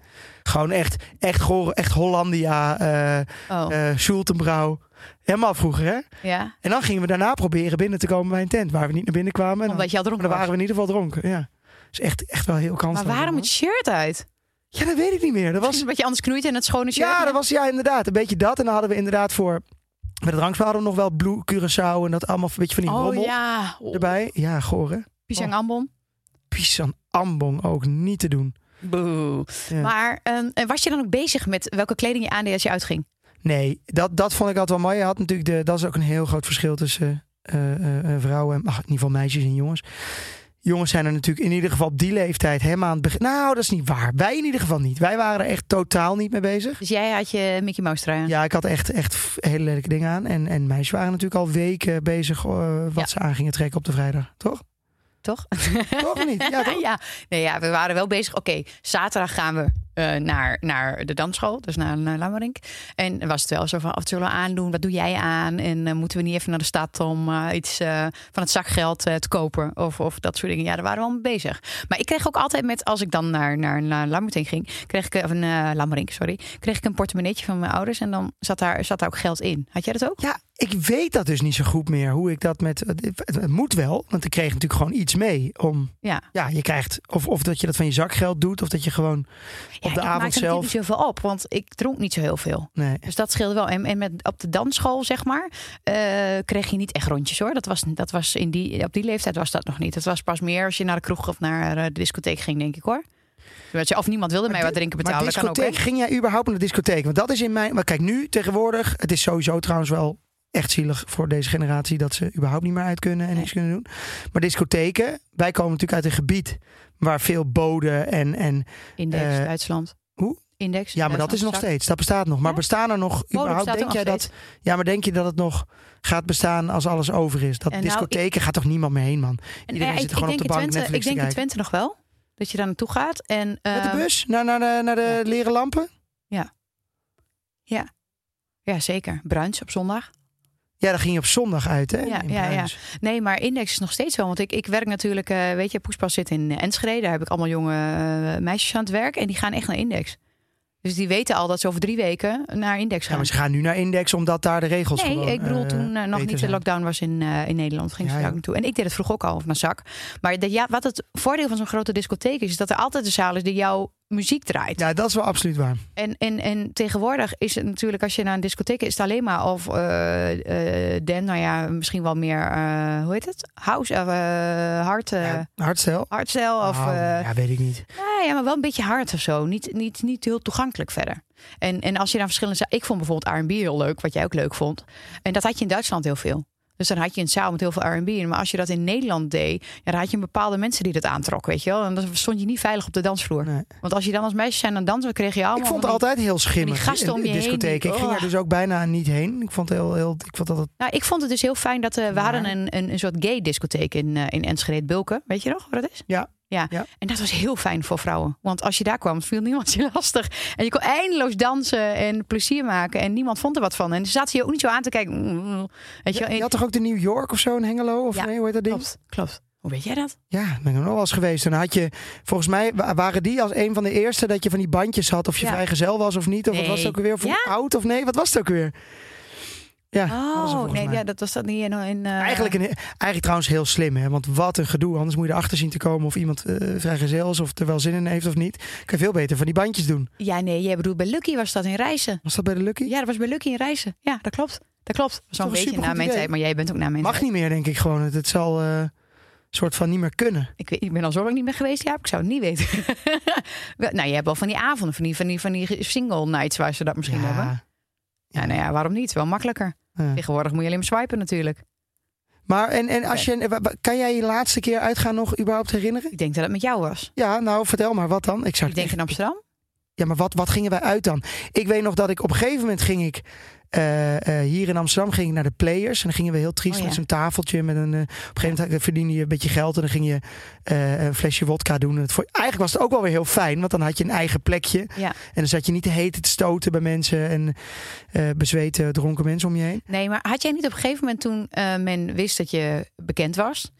A: Gewoon echt, echt, goor, echt Hollandia, eh
C: Oh,
A: eh, Schultenbrouw. Helemaal vroeger, hè?
C: ja.
A: En dan gingen we daarna proberen binnen te komen bij een tent, waar we niet naar binnen kwamen. En dan,
C: Omdat je al
A: maar
C: dronken
A: dan
C: was.
A: waren we in ieder geval dronken, ja. Dus echt, echt wel heel kansloos.
C: Maar waarom
A: allemaal.
C: het shirt uit?
A: Ja, dat weet ik niet meer.
C: [laughs]
A: Dat was
C: Was een beetje anders knoeit en het schone shirt?
A: Ja, dat was ja, inderdaad. Een beetje dat. En dan hadden we inderdaad voor. Met de drankspel hadden we nog wel Blue Curaçao en dat allemaal een beetje van die
C: Oh
A: rommel
C: ja. Oh,
A: erbij. Oh. Ja, goor hè.
C: Pisang ambon.
A: Pisang ambong ook niet te doen.
C: Boe.
A: Ja.
C: Maar ehm, en was je dan ook bezig met welke kleding je aandeed als je uitging?
A: Nee, dat, dat vond ik altijd wel mooi. Je had natuurlijk de, dat is ook een heel groot verschil tussen eh, eh, eh, vrouwen en ach, in ieder geval meisjes en jongens. Jongens zijn er natuurlijk in ieder geval op die leeftijd helemaal aan het begin. Nou, dat is niet waar. Wij in ieder geval niet. Wij waren er echt totaal niet mee bezig.
C: Dus jij had je Mickey Mouse trui aan.
A: Ja, ik had echt, echt f- hele lelijke dingen aan. En, en meisjes waren natuurlijk al weken bezig eh, wat
C: Ja.
A: ze aan gingen trekken op de vrijdag. [laughs] Toch?
C: Toch?
A: Toch niet? Ja,
C: [laughs]
A: toch?
C: ja. Nee, ja, we waren wel bezig. Oké, zaterdag gaan we eh, naar, naar de dansschool, dus naar, naar Lamerink. En was het wel zo van, wat zullen we aandoen? Wat doe jij aan? En eh, moeten we niet even naar de stad om eh, iets eh, van het zakgeld eh, te kopen? Of, of dat soort dingen. Ja, daar waren we al mee bezig. Maar ik kreeg ook altijd met, als ik dan naar, naar, naar Lammerink ging, kreeg ik, of eh, Lamerink, sorry, kreeg ik een portemonneetje van mijn ouders en dan zat daar, zat daar ook geld in. Had jij dat ook?
A: Ja, ik weet dat dus niet zo goed meer. Hoe ik dat met. Het, het- het moet wel, want ik kreeg natuurlijk gewoon iets mee. Om,
C: Ja.
A: ja, je krijgt. Of, of dat je dat van je zakgeld doet. Of dat je gewoon op de
C: ik
A: avond
C: maakte
A: zelf.
C: niet zoveel op, want ik dronk niet zo heel veel.
A: Nee.
C: Dus dat scheelde wel. En, en met, op de dansschool, zeg maar, eh, kreeg je niet echt rondjes hoor. Dat was, dat was in die, op die leeftijd was dat nog niet. Het was pas meer als je naar de kroeg of naar eh, de discotheek ging, denk ik hoor. Weet je, Of niemand wilde mij
A: Maar
C: wat drinken
A: Maar
C: betalen. Dat kan ook,
A: discotheek,
C: hè?
A: ging jij überhaupt naar de discotheek? Want dat is in mijn. Maar kijk, nu tegenwoordig. Het is sowieso trouwens wel echt zielig voor deze generatie. Dat ze überhaupt niet meer uit kunnen en
C: Nee.
A: niks kunnen doen. Maar discotheken. Wij komen natuurlijk uit een gebied. Waar veel boden en. en
C: Index,
A: eh,
C: Duitsland.
A: hoe?
C: Index.
A: ja, maar dat is nog
C: Duitsland,
A: steeds. Dat bestaat nog. Maar
C: Ja?
A: bestaan er nog.
C: Bodem
A: Überhaupt,
C: bestaat
A: denk
C: er
A: jij
C: nog
A: dat. Ja, maar denk je dat het nog gaat bestaan als alles over is? Dat
C: En nou,
A: discotheken gaat toch niemand meer heen, man?
C: zak.
A: Iedereen
C: ja,
A: zit gewoon op
C: denk
A: de
C: in
A: bank
C: Twente,
A: Netflix
C: Ik denk
A: te
C: in
A: kijken.
C: Twente nog wel. Dat je daar naartoe gaat. En,
A: Met de
C: ehm,
A: bus naar, naar de, naar de
C: ja.
A: leren lampen?
C: Ja, zeker. Bruins op zondag.
A: Ja, daar ging je op zondag uit, hè?
C: Ja,
A: in
C: ja, ja.
A: Bruins.
C: Nee, maar Index is nog steeds wel. Want ik, ik werk natuurlijk, eh, weet je, Poespas zit in eh, Enschede. Daar heb ik allemaal jonge eh, meisjes aan het werk. En die gaan echt naar Index. Dus die weten al dat ze over drie weken naar Index
A: Ja,
C: gaan.
A: maar ze gaan nu naar Index omdat daar de regels
C: nee,
A: gewoon,
C: ik bedoel,
A: eh,
C: toen eh, nog
A: beter
C: niet de
A: zijn.
C: lockdown was in, eh, in Nederland, ging
A: Ja,
C: ze daar
A: ja.
C: ook naartoe. En ik deed het vroeg ook al, of naar zak. Maar de, ja, wat het voordeel van zo'n grote discotheek is, is dat er altijd een zaal is die jouw muziek draait.
A: Ja, dat is wel absoluut waar.
C: En, en, en tegenwoordig is het natuurlijk, als je naar een discotheek is, het alleen maar of eh, eh, Dan, nou ja, misschien wel meer, eh, hoe heet het? House, eh hard, eh
A: Ja, hardstel.
C: hardstyle of...
A: Oh,
C: eh,
A: ja, weet ik niet.
C: nou ja, maar wel een beetje hard of zo. Niet, niet, niet heel toegankelijk verder. En, en als je dan verschillende... za- Ik vond bijvoorbeeld R&B heel leuk, wat jij ook leuk vond. En dat had je in Duitsland heel veel. Dus dan had je een zaal met heel veel R&B in. Maar als je dat in Nederland deed, ja, dan had je bepaalde mensen die dat aantrok, weet je wel. En dan stond je niet veilig op de dansvloer.
A: Nee.
C: Want als je dan als meisje zijn aan het dansen, dan kreeg je allemaal...
A: ik vond het
C: van die-
A: altijd heel schimmig.
C: gasten om
A: in de
C: je heen, die-
A: discotheek. Ik ging
C: oh.
A: er dus ook bijna niet heen. Ik vond, het heel, heel, ik vond dat het
C: Nou, ik vond het dus heel fijn dat eh, we
A: Maar-
C: hadden een, een, een soort gay discotheek in, eh, in Enschede, Bulken. Weet je nog wat dat is?
A: Ja.
C: Ja.
A: Ja.
C: en dat was heel fijn voor vrouwen. Want als je daar kwam, viel niemand je lastig. En je kon eindeloos dansen en plezier maken. En niemand vond er wat van. En ze zaten je ook niet zo aan te kijken. Mm, Weet je, wel.
A: Je had toch ook de New York of zo in Hengelo? Of
C: Ja,
A: nee, hoe heet dat ding?
C: klopt, klopt. Hoe weet jij dat?
A: Ja, ben ik nog wel eens geweest. En dan had je, volgens mij wa- waren die als een van de eerste dat je van die bandjes had. Of je
C: Ja.
A: vrijgezel was of niet. Of wat was het
C: Nee.
A: ook weer? Voor
C: Ja?
A: oud of nee? Wat was het ook weer? Ja, Ah, dat was het
C: Oh,
A: volgens
C: nee,
A: mij.
C: ja, dat was dat niet. In, in, eh,
A: Eigenlijk, een, eigenlijk trouwens heel slim, hè? want wat een gedoe. Anders moet je erachter zien te komen of iemand eh vrijgezel is of er wel zin in heeft of niet. Kan je veel beter van die bandjes doen.
C: Ja, nee, jij bedoelt bij Lucky was dat in Reizen.
A: Was dat bij de Lucky?
C: Ja, dat was bij Lucky in Reizen. Ja, dat klopt. Dat klopt.
A: toch
C: Zo'n
A: een
C: beetje
A: supergoed
C: na mijn
A: idee?
C: tijd. Maar jij bent ook na mijn tijd.
A: Mag niet meer, denk ik gewoon. Het, het zal eh soort van niet meer kunnen.
C: Ik, weet, ik ben al zo lang niet meer geweest, ja, ik zou het niet weten. [laughs] Wel, nou, je hebt wel van die avonden, van die, van die, van die single nights waar ze dat misschien
A: Ja.
C: hebben. Ja, nou ja, waarom niet? Wel makkelijker.
A: Ja.
C: Tegenwoordig moet je alleen maar swipen natuurlijk.
A: Maar en, en als je, wa- wa- kan jij je laatste keer uitgaan nog überhaupt herinneren?
C: Ik denk dat het met jou was.
A: Ja, nou vertel maar, wat dan? Ik zou
C: Ik denk in Amsterdam.
A: Ja, maar wat, wat gingen wij uit dan? Ik weet nog dat ik op een gegeven moment ging ik... eh, eh, hier in Amsterdam ging ik naar de Players. En dan gingen we heel triest
C: Oh, ja.
A: met zo'n tafeltje. Met een, eh, op een gegeven moment verdiende je een beetje geld. En dan ging je eh, een flesje wodka doen. En het vond- eigenlijk was het ook wel weer heel fijn. Want dan had je een eigen plekje.
C: Ja.
A: En dan zat je niet te heten te stoten bij mensen. En eh bezweten dronken mensen om je heen.
C: Nee, maar had jij niet op een gegeven moment toen eh, men wist dat je bekend was?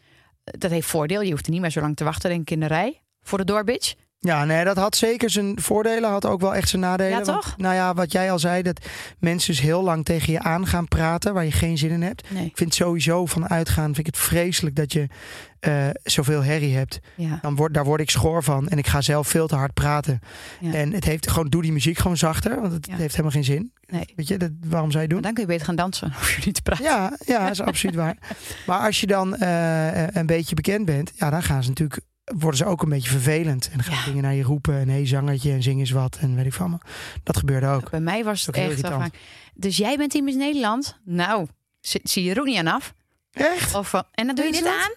C: Eh, Dat heeft voordeel. Je hoeft niet meer zo lang te wachten, denk ik, in de rij. Voor de doorbitch.
A: Ja, nee, dat had zeker zijn voordelen, had ook wel echt zijn nadelen.
C: Ja,
A: Want,
C: toch?
A: nou ja, wat jij al zei, dat mensen dus heel lang tegen je aan gaan praten waar je geen zin in hebt.
C: Nee.
A: Ik vind sowieso van uitgaan, vind ik het vreselijk dat je eh, zoveel herrie hebt.
C: Ja.
A: Dan word, daar word ik schor van en ik ga zelf veel te hard praten.
C: Ja.
A: En het heeft gewoon, doe die muziek gewoon zachter, want het
C: Ja.
A: heeft helemaal geen zin.
C: Nee.
A: Weet je, dat, waarom zou je
C: Maar
A: doen?
C: dan kun je beter gaan dansen. [laughs] Hoef je niet te praten.
A: Ja, ja, dat is absoluut waar. Maar als je dan eh, een beetje bekend bent, ja, dan gaan ze natuurlijk, worden ze ook een beetje vervelend. En dan gaan ze
C: Ja.
A: dingen naar je roepen en hé, hey, zangertje en zing eens wat en weet ik van me. Dat gebeurde ook.
C: Bij mij was het
A: Ook heel
C: echt wel
A: irritant.
C: vaak. Dus jij bent in Miss Nederland? Nou, zi- zie je er ook niet aan af.
A: Echt?
C: Of van, en dan doe je
A: Weet
C: dit
A: je dat?
C: aan?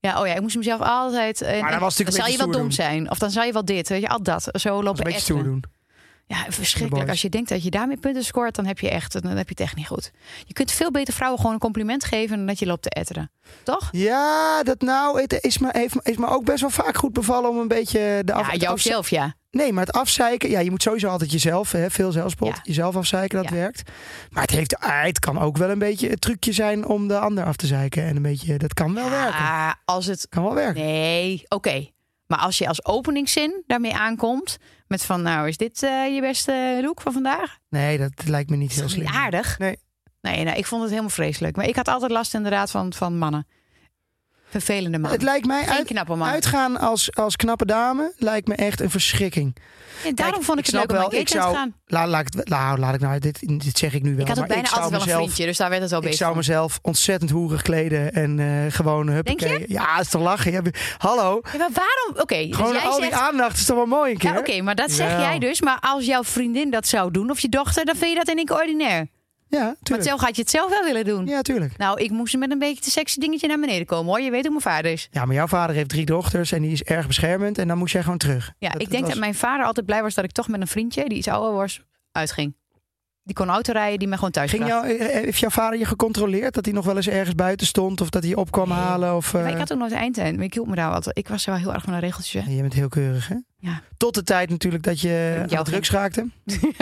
C: Ja, oh ja, ik moest mezelf altijd... eh,
A: Maar dat was natuurlijk een
C: dan zal
A: beetje
C: je wel
A: stoer
C: dom
A: doen.
C: zijn. Of dan zal je wel dit, weet je, al dat. Zo
A: Dat is
C: lopen
A: een beetje stoer
C: etteren.
A: doen.
C: Ja,
A: De boys.
C: verschrikkelijk. Als je denkt dat je daarmee punten scoort, dan heb je echt, dan heb je het echt niet goed. Je kunt veel beter vrouwen gewoon een compliment geven dan dat je loopt te etteren. Toch?
A: Ja, dat nou, het is me, heeft, me- is me ook best wel vaak goed bevallen om een beetje de af,
C: ja,
A: het afza-
C: jouzelf, ja.
A: Nee, maar het afzeiken, ja, je moet sowieso altijd jezelf, hè, veel zelfspot,
C: Ja.
A: jezelf afzeiken, dat
C: Ja.
A: werkt. Maar het, heeft, ah, het kan ook wel een beetje het trucje zijn om de ander af te zeiken. En een beetje, dat kan wel werken.
C: Ah, als het
A: Kan wel werken.
C: Nee, oké. Maar als je als openingszin daarmee aankomt. Met van, nou, is dit eh, je beste look van vandaag?
A: Nee, dat lijkt me niet
C: Is
A: heel
C: dat
A: slim.
C: niet aardig?
A: Nee.
C: Nee, nou, ik vond het helemaal vreselijk. Maar ik had altijd last inderdaad van, van mannen. Vervelende mannen.
A: Het lijkt mij
C: Geen
A: uit,
C: knappe mannen.
A: uitgaan als, als knappe dame lijkt me echt een verschrikking.
C: En daarom
A: Kijk,
C: vond ik,
A: ik
C: het
A: snap
C: leuk om
A: wel,
C: aan
A: ik
C: Kate
A: zou-
C: te gaan.
A: La, laat, ik het- nou, laat ik nou, dit, dit zeg ik nu wel.
C: Ik had ook
A: maar
C: bijna
A: zou
C: altijd wel
A: mezelf,
C: een vriendje, dus daar werd het wel
A: Ik
C: beter
A: zou
C: van.
A: mezelf ontzettend hoerig kleden en eh, gewoon huppakee. Ja, is te lachen. Je hebt- Hallo,
C: Ja, maar waarom? Oké, dus
A: gewoon
C: jij
A: al
C: zegt...
A: die aandacht is toch wel mooi een keer?
C: Ja, oké, maar dat zeg
A: Jawel.
C: jij dus. Maar als jouw vriendin dat zou doen, of je dochter, dan vind je dat in één keer ordinair.
A: Ja,
C: Maar
A: tuurlijk.
C: zelf had je het zelf wel willen doen.
A: Ja, tuurlijk.
C: Nou, ik moest met een beetje te sexy dingetje naar beneden komen hoor. Je weet hoe mijn vader is.
A: Ja, maar jouw vader heeft drie dochters en die is erg beschermend. En dan moest jij gewoon terug.
C: Ja,
A: Dat-
C: ik denk
A: was-
C: dat mijn vader altijd blij was dat ik toch met een vriendje die iets ouder was, uitging. Die kon auto rijden, die mij gewoon thuis
A: Ging
C: bracht.
A: jou, eh, heeft jouw vader je gecontroleerd dat hij nog wel eens ergens buiten stond of dat hij opkwam
C: Nee.
A: halen? Of,
C: Maar
A: eh,
C: ik had ook nooit eind en ik hield me daar altijd. Ik was wel heel erg van de regeltjes. hè.
A: Je bent heel keurig, hè?
C: Ja.
A: Tot de tijd natuurlijk dat je aan
C: jou
A: de drugs raakte.
C: [laughs]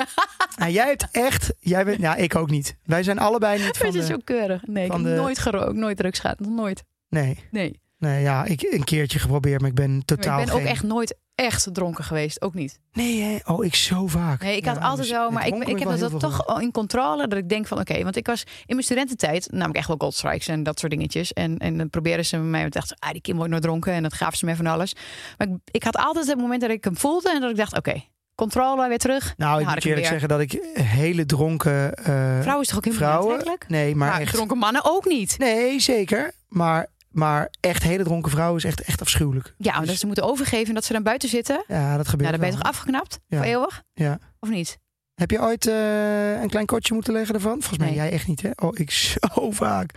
A: nou, jij hebt echt... Jij bent, nou, ik ook niet. Wij zijn allebei
C: [laughs]
A: niet van
C: Het is
A: de...
C: zo keurig. Nee, ik
A: van
C: heb
A: de-
C: nooit gerookt, nooit drugs gehad, nog nooit.
A: Nee,
C: Nee.
A: nee ja, ik een keertje geprobeerd, maar ik ben
C: Maar
A: totaal
C: ik ben ook
A: geen-
C: echt nooit echt dronken geweest, ook niet.
A: Nee, hè? oh, ik zo vaak.
C: Nee, ik
A: Ja,
C: had altijd
A: dus
C: zo,
A: met
C: maar ik,
A: dronken
C: ik heb
A: wel heel
C: dat
A: veel
C: toch in controle. Dat ik denk van, oké, want ik was in mijn studententijd namelijk echt wel goldstrikes en dat soort dingetjes. En, en dan probeerden ze mij, ik dacht, ah, die Kim wordt nooit dronken. En dat gaven ze mij van alles. Maar ik, ik had altijd het moment dat ik hem voelde en dat ik dacht, oké, controle weer terug.
A: Nou, ik
C: had
A: moet
C: ik hem
A: eerlijk
C: weer.
A: zeggen dat ik hele dronken eh,
C: Vrouwen is toch ook helemaal niet
A: vrouwen...
C: aantrekkelijk?
A: Nee, maar,
C: Maar
A: echt...
C: dronken mannen ook niet.
A: Nee, zeker. Maar, maar echt hele dronken vrouwen is echt, echt afschuwelijk.
C: Ja, omdat ze moeten overgeven en dat ze dan buiten zitten.
A: Ja, dat
C: Nou,
A: gebeurt
C: dan ben je toch
A: wel.
C: afgeknapt?
A: Ja.
C: Voor eeuwig?
A: Ja.
C: Of niet?
A: Heb je ooit eh, een klein kortje moeten leggen ervan? Volgens mij
C: Nee.
A: jij echt niet, hè? Oh, ik [laughs] zo vaak.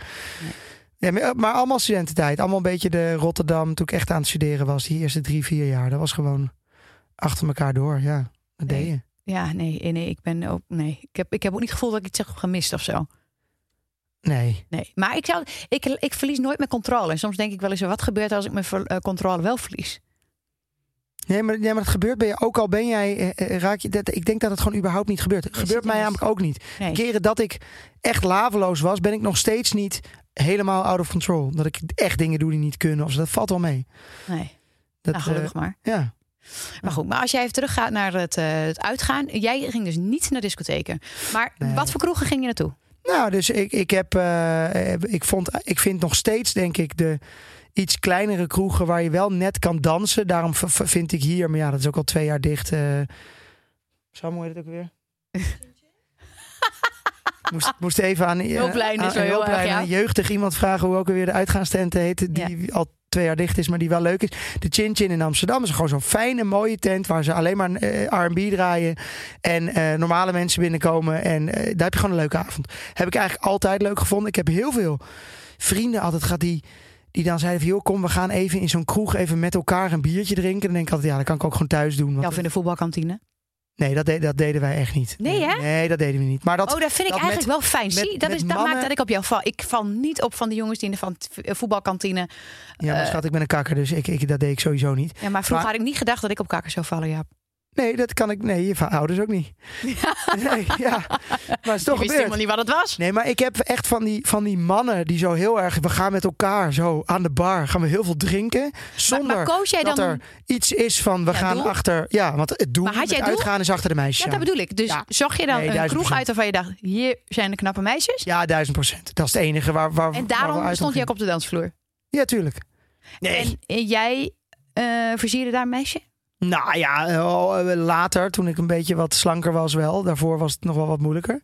C: Nee.
A: Ja, maar, maar allemaal studententijd. Allemaal een beetje de Rotterdam toen ik echt aan het studeren was. Die eerste drie, vier jaar. Dat was gewoon achter elkaar door, ja. Dat
C: Nee.
A: deed je.
C: Ja, nee, nee, ik ben ook, nee. Ik heb, ik heb ook niet het gevoel dat ik iets heb gemist of zo.
A: Nee.
C: Nee, maar ik, zou, ik, ik verlies nooit mijn controle. En soms denk ik wel eens, wat gebeurt er als ik mijn ver- eh, controle wel verlies?
A: Nee maar, nee, maar dat gebeurt bij je. Ook al ben jij, eh, eh, raak je, dat, ik denk dat het gewoon überhaupt niet gebeurt. Het
C: Nee,
A: gebeurt
C: zit
A: mij
C: er niet.
A: namelijk ook niet.
C: Nee.
A: Keren dat ik echt laveloos was, ben ik nog steeds niet helemaal out of control. Dat ik echt dingen doe die niet kunnen. Of zo. Dat valt wel mee.
C: nee.
A: Dat,
C: nou, gelukkig maar.
A: eh, ja.
C: Maar goed, maar als jij even teruggaat naar het, eh, het uitgaan. Jij ging dus niet naar discotheken. Maar
A: Nee.
C: wat voor kroegen ging je naartoe?
A: Nou, dus ik, ik heb, eh, eh, ik vond, ik vind nog steeds, denk ik, de iets kleinere kroegen waar je wel net kan dansen. Daarom v- v- vind ik hier, maar ja, dat is ook al twee jaar dicht. eh Sam, hoe heet het ook
C: [laughs]
A: weer? moest, moest even aan, eh,
C: Hulplijn is
A: aan-
C: wel
A: aan
C: heel erg,
A: hulplijn,
C: ja.
A: een jeugdig iemand vragen hoe ook alweer de uitgaanstent heet. Die al twee jaar dicht is, maar die wel leuk is. De Chin Chin in Amsterdam is gewoon zo'n fijne, mooie tent waar ze alleen maar eh, R&B draaien. En eh, normale mensen binnenkomen. En eh, daar heb je gewoon een leuke avond. Heb ik eigenlijk altijd leuk gevonden. Ik heb heel veel vrienden altijd gehad die... Die dan zeiden van, joh, kom, we gaan even in zo'n kroeg even met elkaar een biertje drinken. Dan denk ik altijd, ja, dat kan ik ook gewoon thuis doen.
C: Ja,
A: Want
C: of in de voetbalkantine.
A: Nee, dat, de- dat deden wij echt niet.
C: Nee, hè?
A: Nee, dat deden we niet. Maar dat,
C: oh, dat vind ik
A: dat
C: eigenlijk wel fijn.
A: met-
C: Zie, dat,
A: met
C: is, dat
A: mannen-
C: maakt dat ik op jou val. Ik val niet op van de jongens die in de van- eh, voetbalkantine.
A: ja, maar
C: eh,
A: schat, ik ben een kakker, dus ik, ik, dat deed ik sowieso niet.
C: Ja, maar vroeger
A: Maar-
C: had ik niet gedacht dat ik op kakker zou vallen, Jaap.
A: Nee, dat kan ik, nee, je va- ouders ook
C: [laughs]
A: niet. Nee, ja. Maar het is toch
C: ik wist
A: gebeurd.
C: helemaal niet wat het was.
A: Nee, maar ik heb echt van die, van die mannen die zo heel erg... We gaan met elkaar zo aan de bar, gaan we heel veel drinken. Zonder
C: maar koos jij
A: dat
C: dan-
A: er iets is van we
C: Ja,
A: gaan
C: doel?
A: achter... Ja, want het doel
C: Maar had
A: met
C: jij doel?
A: uitgaan is achter de meisjes.
C: Ja, dat bedoel ik. Dus
A: Ja.
C: zocht je dan
A: Nee,
C: een
A: 1000%.
C: kroeg uit waarvan je dacht, hier zijn de knappe meisjes?
A: Ja, duizend procent. Dat is het enige waar, waar waar
C: En
A: we
C: daarom
A: uit
C: stond je ook
A: omgingen.
C: op de dansvloer.
A: Ja, tuurlijk. Nee.
C: En, eh, jij eh versierde daar een meisje?
A: Nou ja, eh, later, toen ik een beetje wat slanker was wel. Daarvoor was het nog wel wat moeilijker.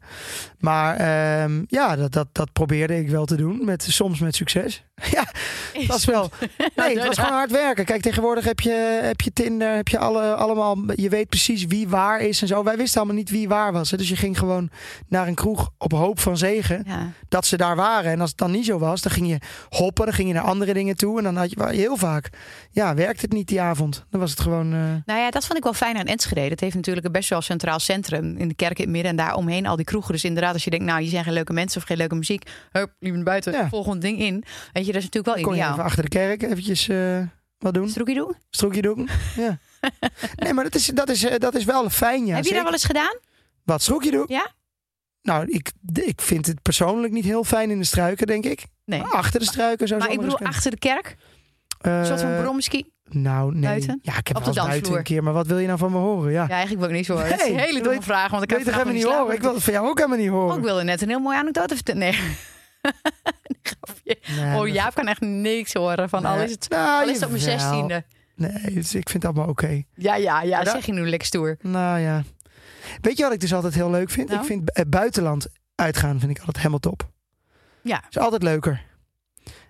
A: Maar ehm, ja, dat, dat, dat probeerde ik wel te doen. Met, soms met succes. [laughs] Ja, het was wel... Nee, het was gewoon hard werken. Kijk, tegenwoordig heb je, heb je Tinder, heb je alle, allemaal... Je weet precies wie waar is en zo. Wij wisten allemaal niet wie waar was. Hè? Dus je ging gewoon naar een kroeg op hoop van zegen
C: Ja.
A: dat ze daar waren. En als het dan niet zo was, dan ging je hoppen, dan ging je naar andere dingen toe. En dan had je heel vaak, ja, werkte het niet die avond. Dan was het gewoon... eh,
C: Nou ja, dat vond ik wel fijn aan Enschede. Dat heeft natuurlijk een best wel centraal centrum. In de kerk in het midden en daar omheen al die kroegen. Dus inderdaad, als je denkt, nou, hier zijn geen leuke mensen of geen leuke muziek. Hup, liep naar buiten,
A: Ja.
C: volgend ding in. Weet je, dat is natuurlijk wel
A: Kon je
C: ideaal.
A: even achter de kerk eventjes eh, Wat doen?
C: Stroekie doen? [laughs]
A: Stroekje doen? Ja. Nee, maar dat is, dat is, eh, dat is wel fijn, ja.
C: Heb je
A: zeker.
C: dat wel eens gedaan?
A: Wat stroekje doen?
C: Ja?
A: Nou, ik, ik vind het persoonlijk niet heel fijn in de struiken, denk ik.
C: Nee.
A: Achter de struiken zou
C: Maar ik
A: zomaar
C: bedoel,
A: eens
C: achter de kerk,
A: kunnen.
C: een soort van
A: Eh,
C: bromski.
A: Nou, nee.
C: Buiten?
A: Ja, ik heb
C: Op
A: wel
C: de
A: eens buiten
C: dansvloer.
A: een keer, maar wat wil je nou van me horen? Ja.
C: Ja, eigenlijk wil ik niks horen. dat is
A: Nee,
C: een hele
A: dat
C: domme
A: weet-
C: vraag, want ik
A: ik weet
C: kan
A: toch helemaal niet
C: slapen.
A: horen? Ik wil het van jou ook helemaal niet
C: Oh, ik
A: horen.
C: wilde net een heel mooie anekdote vertellen. Nee. [laughs]
A: Nee,
C: oh,
A: dat-
C: Jaap kan echt niks horen van
A: Nee.
C: al is het,
A: Nou,
C: al is het op mijn
A: jawel.
C: zestiende.
A: Nee, dus ik vind het allemaal oké.
C: Ja, ja, ja,
A: Maar dat-
C: zeg je nu lekker stoer.
A: Nou ja. Weet je wat ik dus altijd heel leuk vind?
C: Nou?
A: Ik vind het buitenland uitgaan vind ik altijd helemaal top.
C: Ja.
A: Is altijd leuker.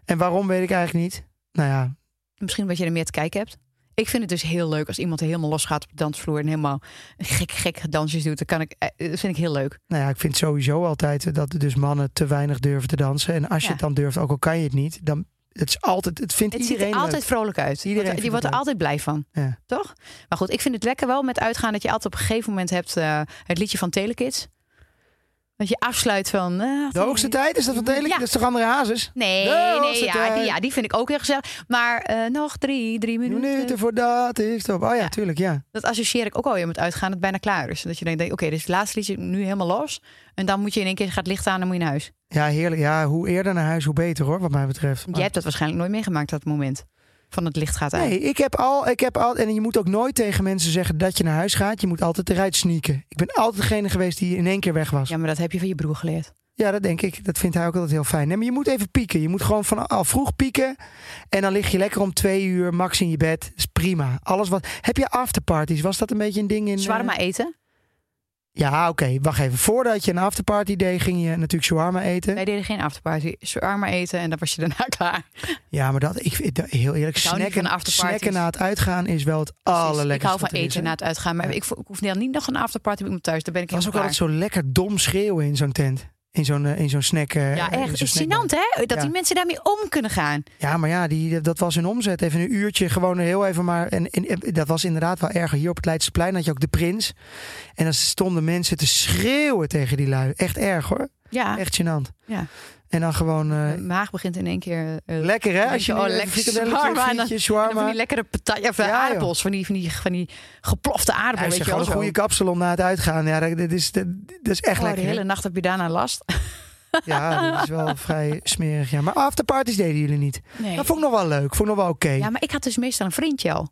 A: En waarom weet ik eigenlijk niet. Nou ja,
C: Misschien omdat je er meer te kijken hebt. Ik vind het dus heel leuk als iemand helemaal losgaat op de dansvloer en helemaal gek, gek dansjes doet. Dat, kan ik, eh, dat vind ik heel leuk.
A: nou ja, ik vind sowieso altijd dat dus mannen te weinig durven te dansen. En als je
C: Ja.
A: het dan durft, ook al kan je het niet, dan het is altijd, het vindt
C: Het ziet
A: iedereen
C: er altijd vrolijk uit.
A: Iedereen
C: Want,
A: vindt
C: je
A: het
C: wordt er
A: leuk.
C: altijd blij van.
A: Ja.
C: Toch? Maar goed, ik vind het lekker wel met uitgaan dat je altijd op een gegeven moment hebt eh, het liedje van Telekids. Dat je afsluit van. eh,
A: leuk. De hoogste tijd is dat van Telek?
C: Ja.
A: Dat is toch andere hazes?
C: Nee,
A: De
C: nee
A: hoogste
C: ja, die,
A: tijd.
C: ja, die vind ik ook heel gezellig. Maar eh, nog drie, drie minuten.
A: Minuten voordat ik stop. Oh ja,
C: eh. Ja.
A: tuurlijk, ja.
C: Dat associeer ik ook alweer met uitgaan dat het bijna klaar is. Dat je denkt, oké, dit is het laatste liedje, nu helemaal los. En dan moet je in één keer, gaat het licht aan en moet je naar huis.
A: Ja, heerlijk. Ja, hoe eerder naar huis, hoe beter hoor, wat mij betreft.
C: Jij hebt dat waarschijnlijk nooit meegemaakt, dat moment. Van het licht gaat aan.
A: Oh. Nee, ik heb al, ik heb al, en je moet ook nooit tegen mensen zeggen dat je naar huis gaat. Je moet altijd eruit sneaken. Ik ben altijd degene geweest die in één keer weg was.
C: Ja,
A: Ja,
C: maar dat heb je van je broer geleerd.
A: dat denk ik. Dat vindt hij ook altijd heel fijn. Nee, maar je moet even pieken. Je moet gewoon van al vroeg pieken. En dan lig je lekker om twee uur max in je bed. is prima. Alles wat. Heb je afterparties? Was dat een beetje een ding in?
C: Zwarma
A: eh,
C: eten.
A: Ja, oké. Wacht even. Voordat je een afterparty deed, ging je natuurlijk shawarma eten.
C: Wij deden geen afterparty. Zwarma eten en dan was je daarna [laughs] klaar.
A: Ja, maar dat, ik, vind- dat- heel eerlijk,
C: Ik hou niet van
A: snacken,
C: afterparties.
A: snacken na het uitgaan is wel het allerlekkerste.
C: ik hou van
A: wat er is,
C: eten
A: hè?
C: na het uitgaan. Maar
A: Ja.
C: ik, vo- ik hoef dan niet nog een afterparty met me thuis. Daar ben ik
A: Het was ook
C: helemaal
A: altijd zo lekker dom schreeuwen in zo'n tent. In zo'n, eh, in zo'n snack. eh,
C: klaar.
A: in
C: Ja, echt. Het
A: zo'n
C: is
A: snackbar.
C: gênant, hè? Dat
A: Ja.
C: die mensen daarmee om kunnen gaan.
A: Ja, maar ja, die, dat was hun omzet. Even een uurtje, gewoon heel even maar. En, en, en dat was inderdaad wel erger. Hier op het Leidseplein had je ook de prins. En dan stonden mensen te schreeuwen tegen die lui. Echt erg hoor.
C: Ja,
A: Echt gênant.
C: Ah. Ja.
A: En dan gewoon... eh,
C: mijn maag begint in één keer... eh,
A: lekker hè?
C: denk
A: Als je
C: je,
A: nu
C: oh,
A: even
C: lekker
A: frikadelletje,
C: shawarma en dan-
A: frietje,
C: En dan van
A: shawarma.
C: die lekkere patat, ja, van
A: Ja, joh.
C: aardappels, van die, van, die, van die geplofte
A: Hij
C: aardappelen.
A: zegt
C: weet je wel,
A: gewoon een
C: zo.
A: goede kapsalon na het uitgaan. Ja, dat, dat is, dat, dat is echt
C: Oh,
A: lekker.
C: de
A: hè?
C: hele nacht heb je daarna last.
A: Ja, dat is
C: [laughs]
A: wel vrij smerig. Ja. Maar afterparties deden jullie niet.
C: Nee.
A: Dat vond ik nog wel leuk. Vond ik nog wel oké.
C: Ja, maar ik had dus meestal een vriendje al.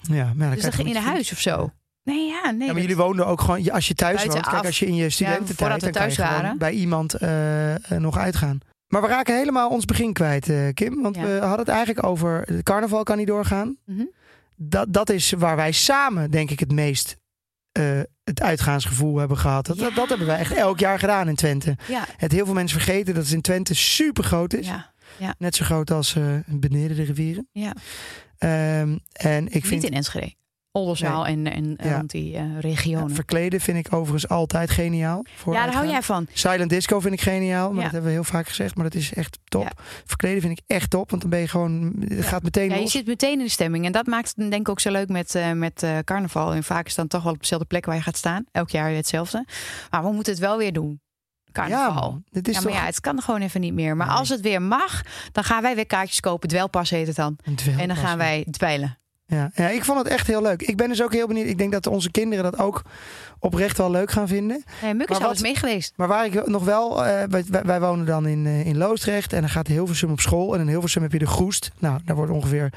A: Ja, maar dan
C: Dus dan
A: krijg je
C: ging je naar
A: natuurlijk-
C: huis of zo. Nee, ja, nee.
A: Ja, maar
C: dat-
A: jullie woonden ook gewoon, je- als je thuis
C: Buiten
A: woont, kijk,
C: af.
A: als je in je studententijd,
C: voordat we
A: dan kan je
C: thuis
A: gewoon
C: waren.
A: bij iemand eh, eh, nog uitgaan. Maar we raken helemaal ons begin kwijt, eh, Kim. Want
C: Ja.
A: we hadden het eigenlijk over, het carnaval kan niet doorgaan.
C: Mhm.
A: Dat, dat is waar wij samen, denk ik, het meest eh, het uitgaansgevoel hebben gehad. Dat, dat, dat hebben wij echt elk jaar gedaan in Twente.
C: Ja,
A: Het heel veel mensen vergeten dat het in Twente super groot is.
C: ja.
A: Net zo groot als eh, beneden de rivieren.
C: Ja.
A: Ehm, en ik vind
C: Niet in Enschede. Oldenzaal en, en eh,
A: Ja.
C: rond die eh,
A: ja,
C: regionen.
A: verkleden vind ik overigens altijd geniaal. Voor
C: Ja, daar hou
A: uitgaan.
C: jij van.
A: Silent disco vind ik geniaal, maar
C: Ja.
A: dat hebben we heel vaak gezegd. Maar dat is echt top.
C: Ja.
A: Verkleden vind ik echt top, want dan ben je gewoon, het gaat meteen
C: Ja, je
A: los.
C: zit meteen in de stemming. En dat maakt het denk ik ook zo leuk met, eh, met eh, carnaval. En vaak is het dan toch wel op dezelfde plek waar je gaat staan. Elk jaar weer hetzelfde. Maar we moeten het wel weer doen.
A: Ja,
C: Carnaval.
A: man, dit is
C: ja, maar
A: toch [laughs]
C: ja, het kan gewoon even niet meer. Maar
A: Nee.
C: als het weer mag, dan gaan wij weer kaartjes kopen. Dwelpas heet het dan.
A: een
C: en dan
A: dwelpas,
C: gaan wij dweilen.
A: Ja. ja, ik vond het echt heel leuk. Ik ben dus ook heel benieuwd. Ik denk dat onze kinderen dat ook oprecht wel leuk gaan vinden.
C: Nee, Muk is
A: Maar
C: altijd
A: wat-
C: mee geweest.
A: Maar waar ik nog wel, eh, wij, wij- wij wonen dan in, eh, in Loosdrecht en dan gaat Hilversum op school. En in Hilversum heb je de Groest. Nou, daar wordt ongeveer,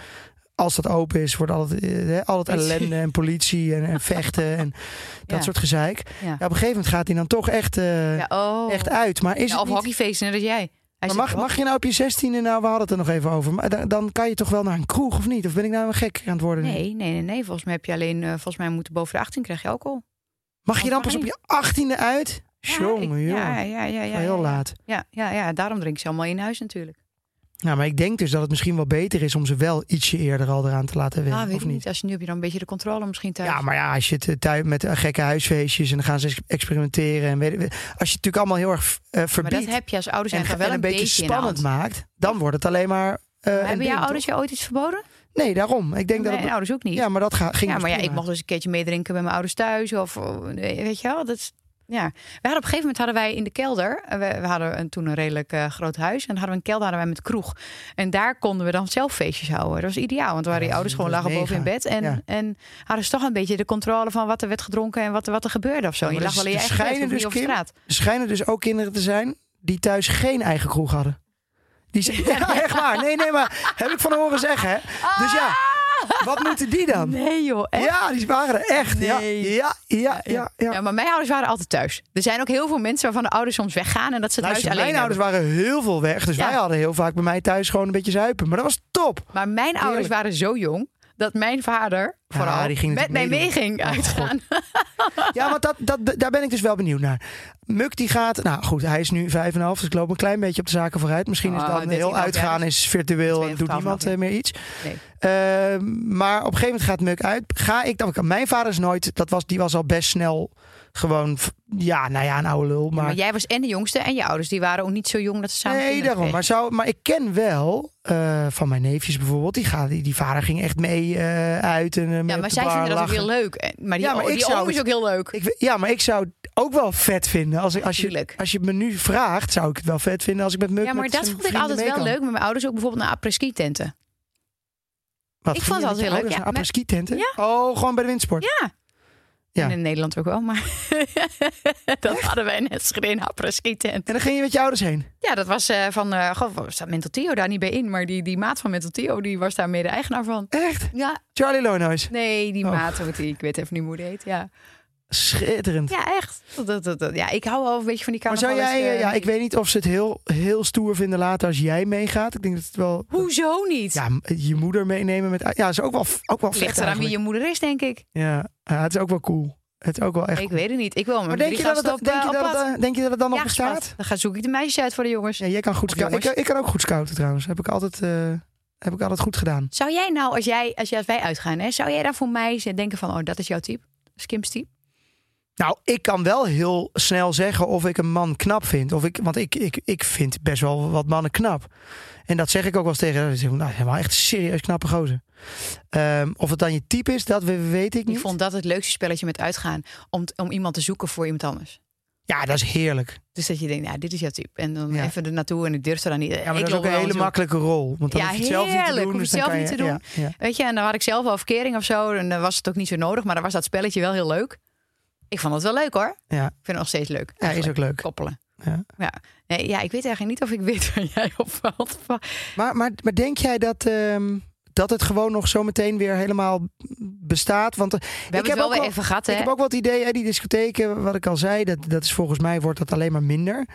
A: als dat open is, wordt altijd, eh, hè, al het ellende en politie en, en
C: [laughs]
A: vechten en dat
C: Ja.
A: soort gezeik.
C: Ja.
A: Ja, op een gegeven moment gaat hij dan toch echt, eh,
C: Ja, oh.
A: echt uit. Maar is
C: Ja,
A: het
C: of
A: niet...
C: hockeyfeest, net als jij. Hij
A: Maar
C: zit
A: mag,
C: op
A: mag je nou op je zestiende, nou we hadden het er nog even over, maar da- dan kan je toch wel naar een kroeg of niet? Of ben ik nou een gek aan het worden? nu?
C: Nee, nee, nee, nee. Volgens mij heb je alleen, eh, volgens mij moeten boven de 18 krijg je alcohol.
A: Mag je dan
C: mag
A: pas op
C: niet.
A: je achttiende uit?
C: Ja,
A: Jongen,
C: ik-
A: jongen.
C: Ja, ja, ja, ja,
A: heel
C: ja.
A: laat.
C: Ja, ja, ja, daarom drink ze allemaal in huis natuurlijk.
A: Nou, maar ik denk dus dat het misschien wel beter is om ze wel ietsje eerder al eraan te laten
C: Ja,
A: wennen.
C: Ah, weet
A: of
C: ik niet. Als je nu heb je dan een beetje de controle misschien thuis.
A: Ja, maar ja, als je het eh, thuis met eh, gekke huisfeestjes en dan gaan ze ex- experimenteren. En weet, als je het natuurlijk allemaal heel erg eh,
C: Maar
A: verbiedt
C: dat heb je als ouders
A: en,
C: eigenlijk
A: en
C: wel
A: een beetje
C: in de hand.
A: spannend maakt, dan wordt het alleen maar. eh, een
C: Hebben
A: ding,
C: jouw ouders
A: toch?
C: jou ooit iets verboden?
A: Nee, daarom. Ik denk
C: Mijn
A: dat het.
C: ouders ook niet.
A: Ja, maar dat ga, ging.
C: Ja,
A: dus
C: maar ja,
A: prima.
C: ik mocht dus een keertje meedrinken bij mijn ouders thuis. Of eh, weet je wel, dat is Ja, we hadden op een gegeven moment hadden wij in de kelder, eh, we, we hadden een, toen een redelijk eh, groot huis en hadden we een kelder hadden wij met kroeg. En daar konden we dan zelf feestjes houden. Dat was ideaal, want waren
A: Ja,
C: die
A: dat
C: ouders
A: is-
C: gewoon
A: dat is
C: lagen boven in
A: mega.
C: bed en,
A: Ja.
C: en hadden ze toch een beetje de controle van wat er werd gedronken en wat, er- wat er gebeurde of zo.
A: Ja,
C: je
A: maar
C: lag
A: dat
C: wel in
A: is-
C: je
A: er
C: eigen bed,
A: schijnen
C: hoef niet op
A: dus kinderen-
C: straat.
A: Er schijnen dus ook kinderen te zijn die thuis geen eigen kroeg hadden. Die zijn, ja, echt waar. Nee, nee, maar heb ik van horen zeggen. Hè? Dus ja, wat moeten die dan?
C: Nee joh, echt?
A: Ja, die waren er echt. Ja,
C: Nee.
A: ja, ja, ja. ja.
C: Ja, maar mijn ouders waren altijd thuis. Er zijn ook heel veel mensen waarvan de ouders soms weggaan en dat ze het
A: Luister,
C: huis alleen
A: mijn ouders
C: hebben.
A: waren heel veel weg. Dus
C: Ja.
A: wij hadden heel vaak bij mij thuis gewoon een beetje zuipen. Maar dat was top.
C: Maar mijn ouders
A: Heerlijk.
C: waren zo jong dat mijn vader
A: Ja,
C: vooral
A: die ging
C: met mij
A: natuurlijk
C: mee
A: meedoen. Oh,
C: ging uitgaan.
A: Ja, want dat, dat, daar ben ik dus wel benieuwd naar. Muk die gaat, nou goed, hij is nu 5,5, dus ik loop een klein beetje op de zaken vooruit. Misschien is
C: Ah,
A: dan
C: 13,5,
A: heel
C: ja,
A: uitgaan
C: dus
A: is virtueel en
C: 12,5,
A: doet niemand
C: ja.
A: eh, meer iets.
C: Nee.
A: Eh, maar op een gegeven moment gaat Muk uit. Ga ik dan? Mijn vader is nooit, dat was, die was al best snel gewoon, v- ja, nou ja, een oude lul. Maar,
C: Maar jij was en de jongste en je ouders die waren ook niet zo jong dat ze samen
A: nee,
C: kinderen
A: daarom. Maar, zou, maar ik ken wel eh, van mijn neefjes bijvoorbeeld, die, gaan, die, die vader ging echt mee eh, uit. En, eh,
C: kregen. Ja,
A: mee op
C: maar
A: de
C: zij
A: bar
C: vinden dat ook
A: lachen.
C: heel leuk. En- Maar die,
A: Ja, maar
C: die
A: ik zou
C: oom is
A: het-
C: ook heel leuk.
A: Ik, weet- ja, maar ik zou het ook wel vet vinden. Als, ik, als, je,
C: Tuurlijk.
A: als je het me nu vraagt, zou ik het wel vet vinden als ik met Muk
C: Ja, maar
A: met
C: dat
A: zijn
C: vond ik
A: vrienden
C: altijd
A: mee
C: wel
A: kan.
C: leuk met mijn ouders. Ook bijvoorbeeld naar apres-ski tenten.
A: Wat,
C: Ik vond
A: ging je
C: het
A: met
C: altijd
A: je
C: heel
A: ouders
C: leuk, ja.
A: naar
C: Met-
A: apres-ski tenten? Oh, gewoon bij de windsport.
C: Ja.
A: Ja.
C: En in Nederland ook wel, maar [laughs] dat hadden wij net geen apres-ski tent.
A: En dan ging je met je ouders heen.
C: Ja, dat was eh, van, eh goh, waar staat Mental Theo daar niet bij in? Maar die, die maat van Mental Theo, die was daar mede eigenaar van.
A: Echt?
C: Ja,
A: Charlie Lonois.
C: nee, die
A: Oh.
C: maat, want die, ik weet even niet hoe die heet. Ja,
A: Schitterend.
C: ja echt. Dat, dat, dat, ja, ik hou wel een beetje van die
A: maar
C: camera.
A: zou jij, eh, ja, ik weet niet of ze het heel, heel stoer vinden later als jij meegaat. Ik denk dat het wel.
C: Hoezo niet?
A: Ja, m- je moeder meenemen met. Ja, is ook wel, f- ook wel vet.
C: Ligt eraan wie je moeder is, denk ik.
A: eigenlijk. Ja, ja, het is ook wel cool. Het is ook wel echt.
C: Ik weet het niet. Ik wil maar
A: maar denk je, dat het,
C: op,
A: denk,
C: eh,
A: je
C: op
A: dat,
C: pad.
A: het, eh, denk je dat het dan nog
C: Ja, schat.
A: bestaat?
C: Dan ga zoek ik de meisjes uit voor de jongens.
A: Ja, jij kan goed
C: Of
A: scouten. Ik,
C: jongens.
A: ik kan ook goed scouten trouwens. Heb ik altijd, eh, heb ik altijd goed gedaan.
C: Zou jij nou, als, jij, als, jij, als wij uitgaan, hè, zou jij dan voor mij z- denken van, oh, dat is jouw type? Skims type?
A: Nou, ik kan wel heel snel zeggen of ik een man knap vind. Of ik, want ik, ik, ik vind best wel wat mannen knap. En dat zeg ik ook wel eens tegen. Dan zeg ik, nou, helemaal echt serieus knappe gozer. Ehm, of het dan je type is, dat we- weet ik niet.
C: Ik vond dat het leukste spelletje met uitgaan. Om, t- om iemand te zoeken voor iemand anders.
A: Ja, dat is heerlijk.
C: Dus dat je denkt, nou, dit is jouw type. En dan
A: Ja.
C: even er naartoe en ik durfde dan niet.
A: Ja, maar
C: ik
A: dat is
C: loop
A: ook een
C: wel
A: hele
C: zo.
A: makkelijke rol. Want dan
C: Ja,
A: hoef je het zelf niet te
C: heerlijk.
A: doen.
C: Hoef je
A: dus
C: het
A: dan
C: zelf
A: kan
C: niet
A: je-
C: te
A: ja, ja.
C: Weet je, en dan had ik zelf al verkering of zo. En dan was het ook niet zo nodig. Maar dan was dat spelletje wel heel leuk. Ik vond het wel leuk hoor.
A: Ja.
C: Ik vind het nog steeds leuk.
A: Ja, is ook leuk.
C: Koppelen.
A: Ja.
C: Ja. Nee, ja, ik weet eigenlijk niet of ik weet waar jij op valt.
A: Maar, maar, maar denk jij dat, ehm, dat het gewoon nog zometeen weer helemaal bestaat? Want eh,
C: We hebben
A: heb
C: het wel
A: ook
C: weer
A: wel-
C: even gehad hè.
A: Ik heb ook wat idee, hè, die discotheken, wat ik al zei, dat, dat is volgens mij wordt dat alleen maar minder.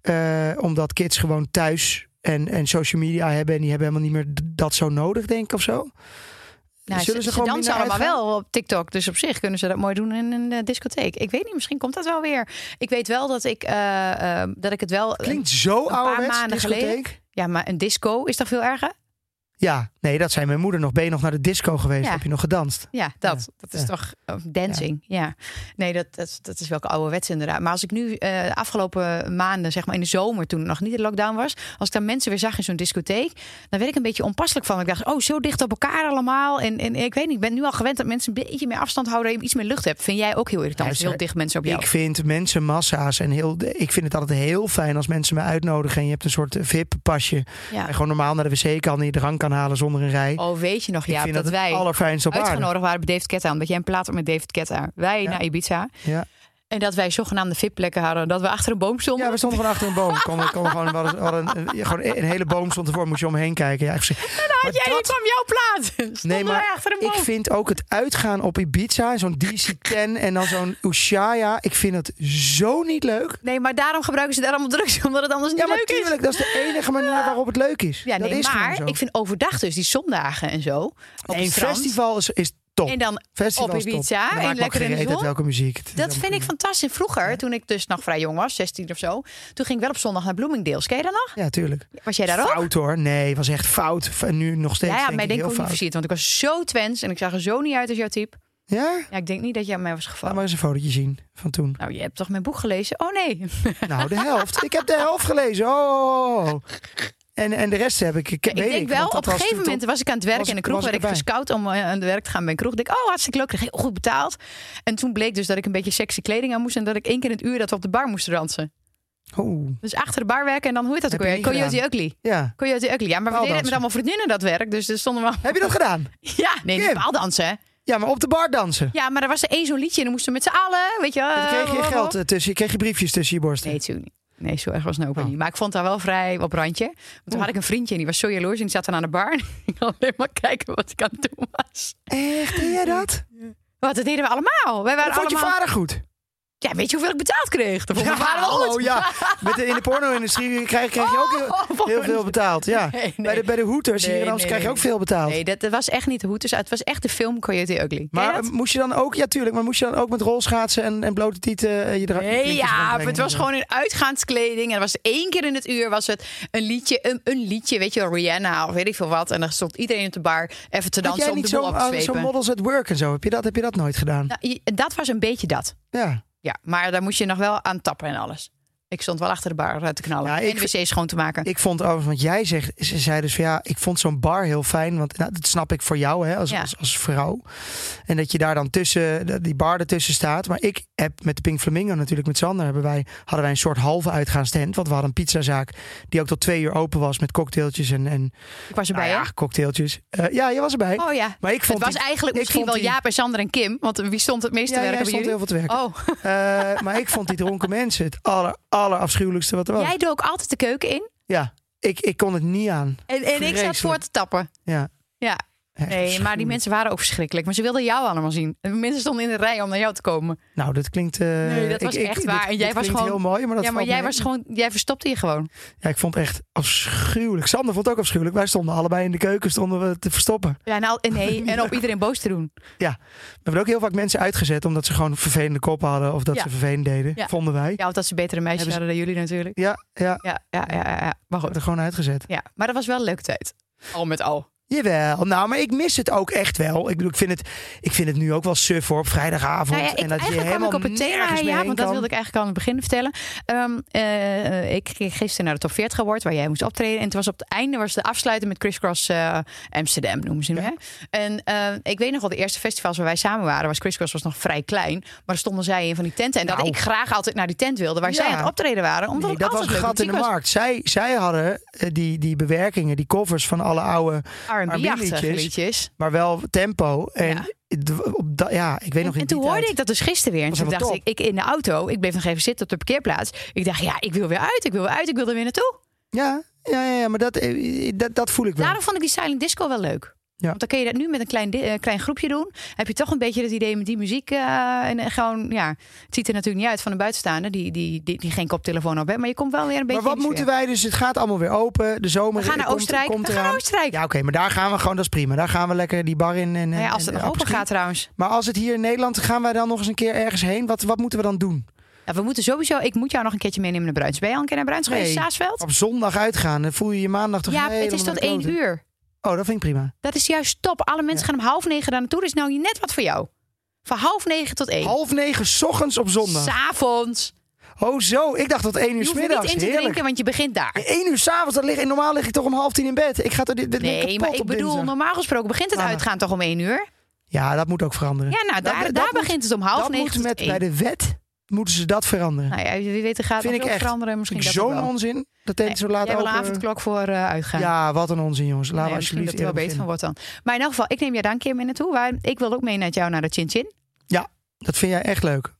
A: Eh, omdat kids gewoon thuis en, en social media hebben en die hebben helemaal niet meer d- dat zo nodig, denk ik of zo.
C: Nou,
A: zullen ze gewoon
C: dansen
A: minder
C: allemaal wel op TikTok. Dus op zich kunnen ze dat mooi doen in een eh, discotheek. Ik weet niet, misschien komt dat wel weer. Ik weet wel dat ik, eh, eh, dat ik het wel...
A: Klinkt zo
C: paar
A: ouderwets,
C: maanden
A: discotheek.
C: geleden. Ja, maar een disco is toch veel erger?
A: Ja, nee, dat zijn mijn moeder nog. Ben je nog naar de disco geweest?
C: Ja.
A: Heb je nog gedanst?
C: Ja, dat. dat is
A: ja.
C: toch eh, dancing. Ja. Nee, dat, dat, dat is wel ouderwets inderdaad. Maar als ik nu eh, de afgelopen maanden, zeg maar in de zomer, toen nog niet de lockdown was, als ik daar mensen weer zag in zo'n discotheek, dan werd ik een beetje onpasselijk van. Ik dacht, oh, zo dicht op elkaar allemaal. En, en ik weet niet, ik ben nu al gewend dat mensen een beetje meer afstand houden, dat je iets meer lucht hebt. Vind jij ook heel irritant? als
A: Ja,
C: heel dicht mensen op jou.
A: Ik vind mensen massa's en heel. Ik vind het altijd heel fijn als mensen me uitnodigen en je hebt een soort VIP-pasje.
C: ja.
A: En gewoon normaal naar de wc kan en je drank kan halen zonder een rij.
C: Oh, weet je nog,
A: ik
C: ja,
A: vind
C: dat,
A: het
C: wij
A: allerfijnst op aarde.
C: uitgenodigd waren bij David Ketta, omdat jij een plaat had met David Ketta. Wij
A: Ja.
C: naar Ibiza.
A: Ja.
C: En dat wij zogenaamde VIP-plekken hadden, dat we achter een boom stonden.
A: Ja, we stonden gewoon achter een boom. Kon, kon gewoon, we hadden, we hadden een, een- gewoon een hele boom stond ervoor, moest je omheen kijken. Ja, ik zeg, maar
C: Jij, die
A: dat-
C: kwam jouw plaat. [laughs] Stonden
A: Nee, maar
C: wij achter een boom.
A: ik vind ook het uitgaan op Ibiza, zo'n DC-10 en dan zo'n Ushaya, ik vind het zo niet leuk.
C: Nee, maar daarom gebruiken ze daar allemaal drugs, [laughs] omdat het anders niet
A: Ja, maar
C: leuk is.
A: tuurlijk, dat is de enige manier waarop het leuk is.
C: Ja, nee,
A: dat is gewoon zo.
C: maar ik vind overdag dus die zondagen en zo. Op
A: Nee,
C: het
A: een
C: strand.
A: festival is, is top.
C: En dan
A: festival
C: op
A: is top.
C: Ibiza
A: Dan
C: en
A: maakt me
C: lekker
A: geen
C: in de
A: reet uit
C: zon.
A: welke muziek. Het
C: Dat
A: is allemaal
C: vind ik
A: prima.
C: fantastisch. Vroeger, toen ik dus nog vrij jong was, 16 of zo, toen ging ik wel op zondag naar Bloomingdale's. Ken je dat nog?
A: Ja, tuurlijk.
C: Was jij daar ook?
A: Fout hoor. Nee, was echt fout. En nu nog steeds
C: Ja, ja,
A: denk
C: mij denk
A: ik
C: ik
A: heel
C: ook niet
A: fout.
C: versierd, want ik was zo twens en ik zag er zo niet uit als jouw type.
A: Ja?
C: Ja, ik denk niet dat jij aan mij was
A: Laat
C: gevallen.
A: maar eens een fotootje zien van toen.
C: Nou, je hebt toch mijn boek gelezen? Oh nee.
A: Nou, de helft. Ik heb de helft gelezen. Oh. oh, oh. En, en de rest heb ik. ik, weet
C: ik denk wel,
A: want dat
C: op een
A: was
C: gegeven
A: toen
C: moment was ik aan het werk
A: was
C: in een
A: ik-
C: kroeg.
A: was ik
C: Werd ik
A: erbij.
C: gescout om eh, aan het werk te gaan bij een kroeg. Ik denk, oh, hartstikke leuk. Kreeg heel goed betaald. En toen bleek dus dat ik een beetje sexy kleding aan moest. En dat ik één keer in het uur dat we op de bar moest dansen.
A: tot- Oeh,
C: Dus achter de bar werken en dan, hoe heet dat ook
A: Heb je
C: weer?
A: niet Oh,
C: Coyote Ugly.
A: ja.
C: Coyote Ugly. Ja, maar we deden het
A: Paaldansen.
C: met allemaal vriendinnen dat werk. Dus er stonden we al-
A: Heb je dat gedaan?
C: [laughs] Ja, nee, niet
A: Kim.
C: paaldansen. hè.
A: Ja, maar op de bar dansen.
C: Ja, maar er was er één zo'n liedje en dan moesten we met z'n allen, weet je wel,
A: Dan kreeg je
C: eh,
A: geld eh, tussen, je kreeg je briefjes tussen je borsten.
C: Nee, toen niet. Nee, zo erg was het nou ook weer
A: Oh.
C: niet. Maar ik vond daar wel vrij op randje. Want toen had ik een vriendje en die was zo jaloers. En die zat dan aan de bar. [laughs] En ik kon alleen maar kijken wat ik aan het doen was.
A: Echt, deed jij dat?
C: Wat, dat deden we allemaal. Wij waren
A: Dat vond je
C: allemaal...
A: vader goed?
C: Ja, weet je hoeveel ik betaald kreeg? Dat vond mijn vader wel
A: hallo,
C: goed.
A: ja. Met de, in de porno-industrie krijg, krijg je ook heel-
C: Oh,
A: heel veel betaald. Ja.
C: Nee, nee.
A: Bij de, bij de hoeters
C: Nee,
A: hier in Amsterdam
C: nee,
A: krijg je
C: nee,
A: ook veel betaald.
C: Nee, dat, dat was echt niet de hoed. Dus het was echt de film Coyote Ugly. Ken je
A: maar
C: dat?
A: eh, moest je dan ook, ja tuurlijk, maar moest je dan ook met rolschaatsen en, en blote tieten eh, je dra- je
C: Nee,
A: vriendjes
C: ja,
A: rondbrengen
C: het
A: en
C: was
A: zo?
C: gewoon in uitgaanskleding. En er was één keer in het uur was het een liedje, een, een liedje, weet je wel, Rihanna of weet ik veel wat. En dan stond iedereen op de bar even te
A: Had
C: dansen
A: jij
C: om de
A: niet
C: boel
A: zo'n
C: op te
A: ah, zo'n
C: zwepen.
A: models at work en zo? Heb je dat, heb je dat nooit gedaan?
C: Nou, je- dat was een beetje dat.
A: Ja.
C: Ja, maar daar moest je nog wel aan tappen en alles. Ik stond wel achter de bar eh, te knallen
A: Ja,
C: en
A: ik
C: de wc schoon te maken.
A: Ik vond overigens, want jij zegt, ze zei dus van ja, ik vond zo'n bar heel fijn. Want nou, dat snap ik voor jou hè, als,
C: Ja.
A: als, als vrouw. En dat je daar dan tussen, dat die bar ertussen staat. Maar ik heb met de Pink Flamingo natuurlijk, met Sander, hebben wij, hadden wij een soort halve uitgaanstent. Want we hadden een pizzazaak die ook tot twee uur open was met cocktailtjes en, en
C: ik was
A: nou
C: erbij,
A: ja, cocktailtjes. Eh, ja, je was erbij.
C: hè? Oh ja.
A: Maar ik vond
C: het was
A: die-
C: eigenlijk
A: ik
C: misschien
A: vond
C: wel
A: die-
C: Jaap en Sander en Kim. Want wie stond het meest
A: ja,
C: te
A: jij
C: werken bij
A: stond heel
C: jullie?
A: veel te werken.
C: Oh,
A: Eh, maar ik vond die dronken mensen het aller, aller afschuwelijkste wat er was.
C: jij dook altijd de keuken in.
A: Ja, ik, ik kon het niet aan.
C: En, en ik zat
A: Vreselijk.
C: voor te tappen.
A: Ja.
C: Ja,
A: Echt
C: Nee, maar die
A: afschuwelijk.
C: mensen waren ook verschrikkelijk. Maar ze wilden jou allemaal zien. En Mensen stonden in de rij om naar jou te komen.
A: Nou, dat klinkt. eh,
C: Nee, dat was
A: ik- ik-
C: echt
A: dit-
C: waar. En
A: dit
C: jij was
A: klinkt
C: gewoon-
A: heel mooi, maar dat
C: ja, maar
A: valt
C: jij
A: mee.
C: was gewoon, jij verstopte je gewoon.
A: Ja, ik vond het echt afschuwelijk. Sander vond het ook afschuwelijk. Wij stonden allebei in de keuken stonden we te verstoppen.
C: Ja, en, al, en [laughs] nee, en op iedereen boos te doen.
A: We hebben ook heel vaak mensen uitgezet omdat ze gewoon vervelende koppen hadden of dat
C: Ja.
A: ze vervelend deden.
C: Ja.
A: Vonden wij.
C: Ja, want dat ze betere meisjes
A: Hebben
C: hadden dan jullie natuurlijk.
A: Ja, ja. We
C: Ja, ja, ja, ja, ja. Maar
A: hebben
C: goed.
A: er gewoon uitgezet.
C: Ja, maar dat was wel een leuke tijd. Al met al.
A: Jawel. Nou, maar ik mis het ook echt wel. Ik bedoel, ik vind het, ik vind het nu ook wel suf hoor, op vrijdagavond.
C: Nou ja, ik,
A: en dat je
C: eigenlijk
A: helemaal
C: kwam ik op het thema,
A: nergens meer
C: ja,
A: heen
C: want dat
A: kan.
C: wilde ik eigenlijk al aan het begin vertellen. Ehm, eh, ik kreeg gisteren naar de top 40 award, waar jij moest optreden. En het was op het einde was de afsluiten met Crisscross eh Amsterdam, noemen ze hem.
A: Ja.
C: Hè? En eh, ik weet nog wel, de eerste festivals waar wij samen waren, was Crisscross was nog vrij klein. Maar er stonden zij in van die tenten. En dat
A: Nou.
C: ik graag altijd naar die tent wilde, waar zij
A: Ja.
C: aan het optreden waren. Omdat
A: Nee,
C: het
A: dat was
C: altijd
A: een
C: leuke
A: gat in de
C: muziek was.
A: markt. Zij, zij hadden eh, die, die bewerkingen, die covers van alle oude
C: R&B-achtige
A: R&B-liedjes.
C: liedjes.
A: maar wel tempo. En
C: Ja.
A: d- op da- ja, ik weet
C: En,
A: nog in
C: en
A: die
C: toen hoorde
A: tijd-
C: ik dat dus gisteren weer. En
A: Was
C: toen dacht
A: helemaal
C: ik, ik in de auto, ik bleef nog even zitten op de parkeerplaats. Ik dacht, ja, ik wil weer uit, ik wil weer uit, ik wil er weer naartoe.
A: Ja, ja, ja, ja, maar dat, eh, dat, dat voel ik wel.
C: Daarom vond ik die silent disco wel leuk.
A: Ja.
C: Want dan kun je dat nu met een klein, di- eh, klein groepje doen. Heb je toch een beetje het idee met die muziek. eh, en eh, gewoon, ja, het ziet er natuurlijk niet uit van een buitenstaander die, die, die, die geen koptelefoon op heeft. Maar je komt wel weer een beetje.
A: maar wat moeten wij dus? Het gaat allemaal weer open. De zomer
C: We gaan naar
A: komt-
C: Oostenrijk.
A: komt
C: we gaan naar
A: eraan.
C: Oostenrijk.
A: Ja, oké, maar daar gaan we gewoon, dat is prima. Daar gaan we lekker die bar in. En,
C: Nou ja,
A: en-
C: als het
A: en
C: nog open
A: appelski.
C: gaat trouwens.
A: Maar als het hier in Nederland, gaan wij dan nog eens een keer ergens heen? Wat, wat moeten we dan doen?
C: Ja, we moeten sowieso. Ik moet jou nog een keertje meenemen naar Bruins. Ben je al een keer naar Bruins geweest?
A: Nee.
C: Saasveld?
A: Op zondag uitgaan, dan voel je je maandag toch
C: Ja, het
A: helemaal
C: is tot
A: naar de
C: één
A: kloten.
C: uur.
A: Oh, dat vind ik prima.
C: Dat is juist top. Alle mensen gaan om half negen daar naartoe. Dat is nou net wat voor jou. Van half negen tot één.
A: Half negen 's ochtends op zondag.
C: S'avonds.
A: oh zo, ik dacht tot één uur
C: Je
A: s
C: hoeft er niet
A: middags.
C: in te
A: Heerlijk.
C: drinken, want je begint daar.
A: Eén uur s'avonds, dat lig, en normaal lig ik toch om half tien in bed. Ik ga toch dit, dit ben
C: Nee,
A: kapot
C: maar ik
A: op
C: bedoel,
A: dinsdag.
C: normaal gesproken begint het
A: Ah.
C: uitgaan toch om één uur?
A: Ja, dat moet ook veranderen.
C: Ja, nou, daar,
A: dat
C: daar
A: moet-
C: begint het om half
A: dat
C: negen
A: moet
C: tot
A: met,
C: één.
A: bij de wet moeten ze dat veranderen.
C: Nou ja, wie weet, er gaat
A: Vind
C: nog
A: ik
C: veel
A: echt.
C: veranderen. Misschien
A: Vind ik
C: dat
A: zo'n
C: ook wel.
A: onzin. Dat tenten zo laat
C: Jij wil een
A: open.
C: avondklok voor eh, uitgaan.
A: Ja, wat een onzin, jongens. Laten
C: Nee,
A: we
C: misschien dat
A: alsjeblieft
C: er wel
A: eerder
C: beter van
A: beginnen.
C: wordt dan. Maar in elk geval, ik neem jou daar een keer mee naartoe. Waar, ik wil ook mee naar jou naar de Chin Chin.
A: Dat vind jij echt leuk.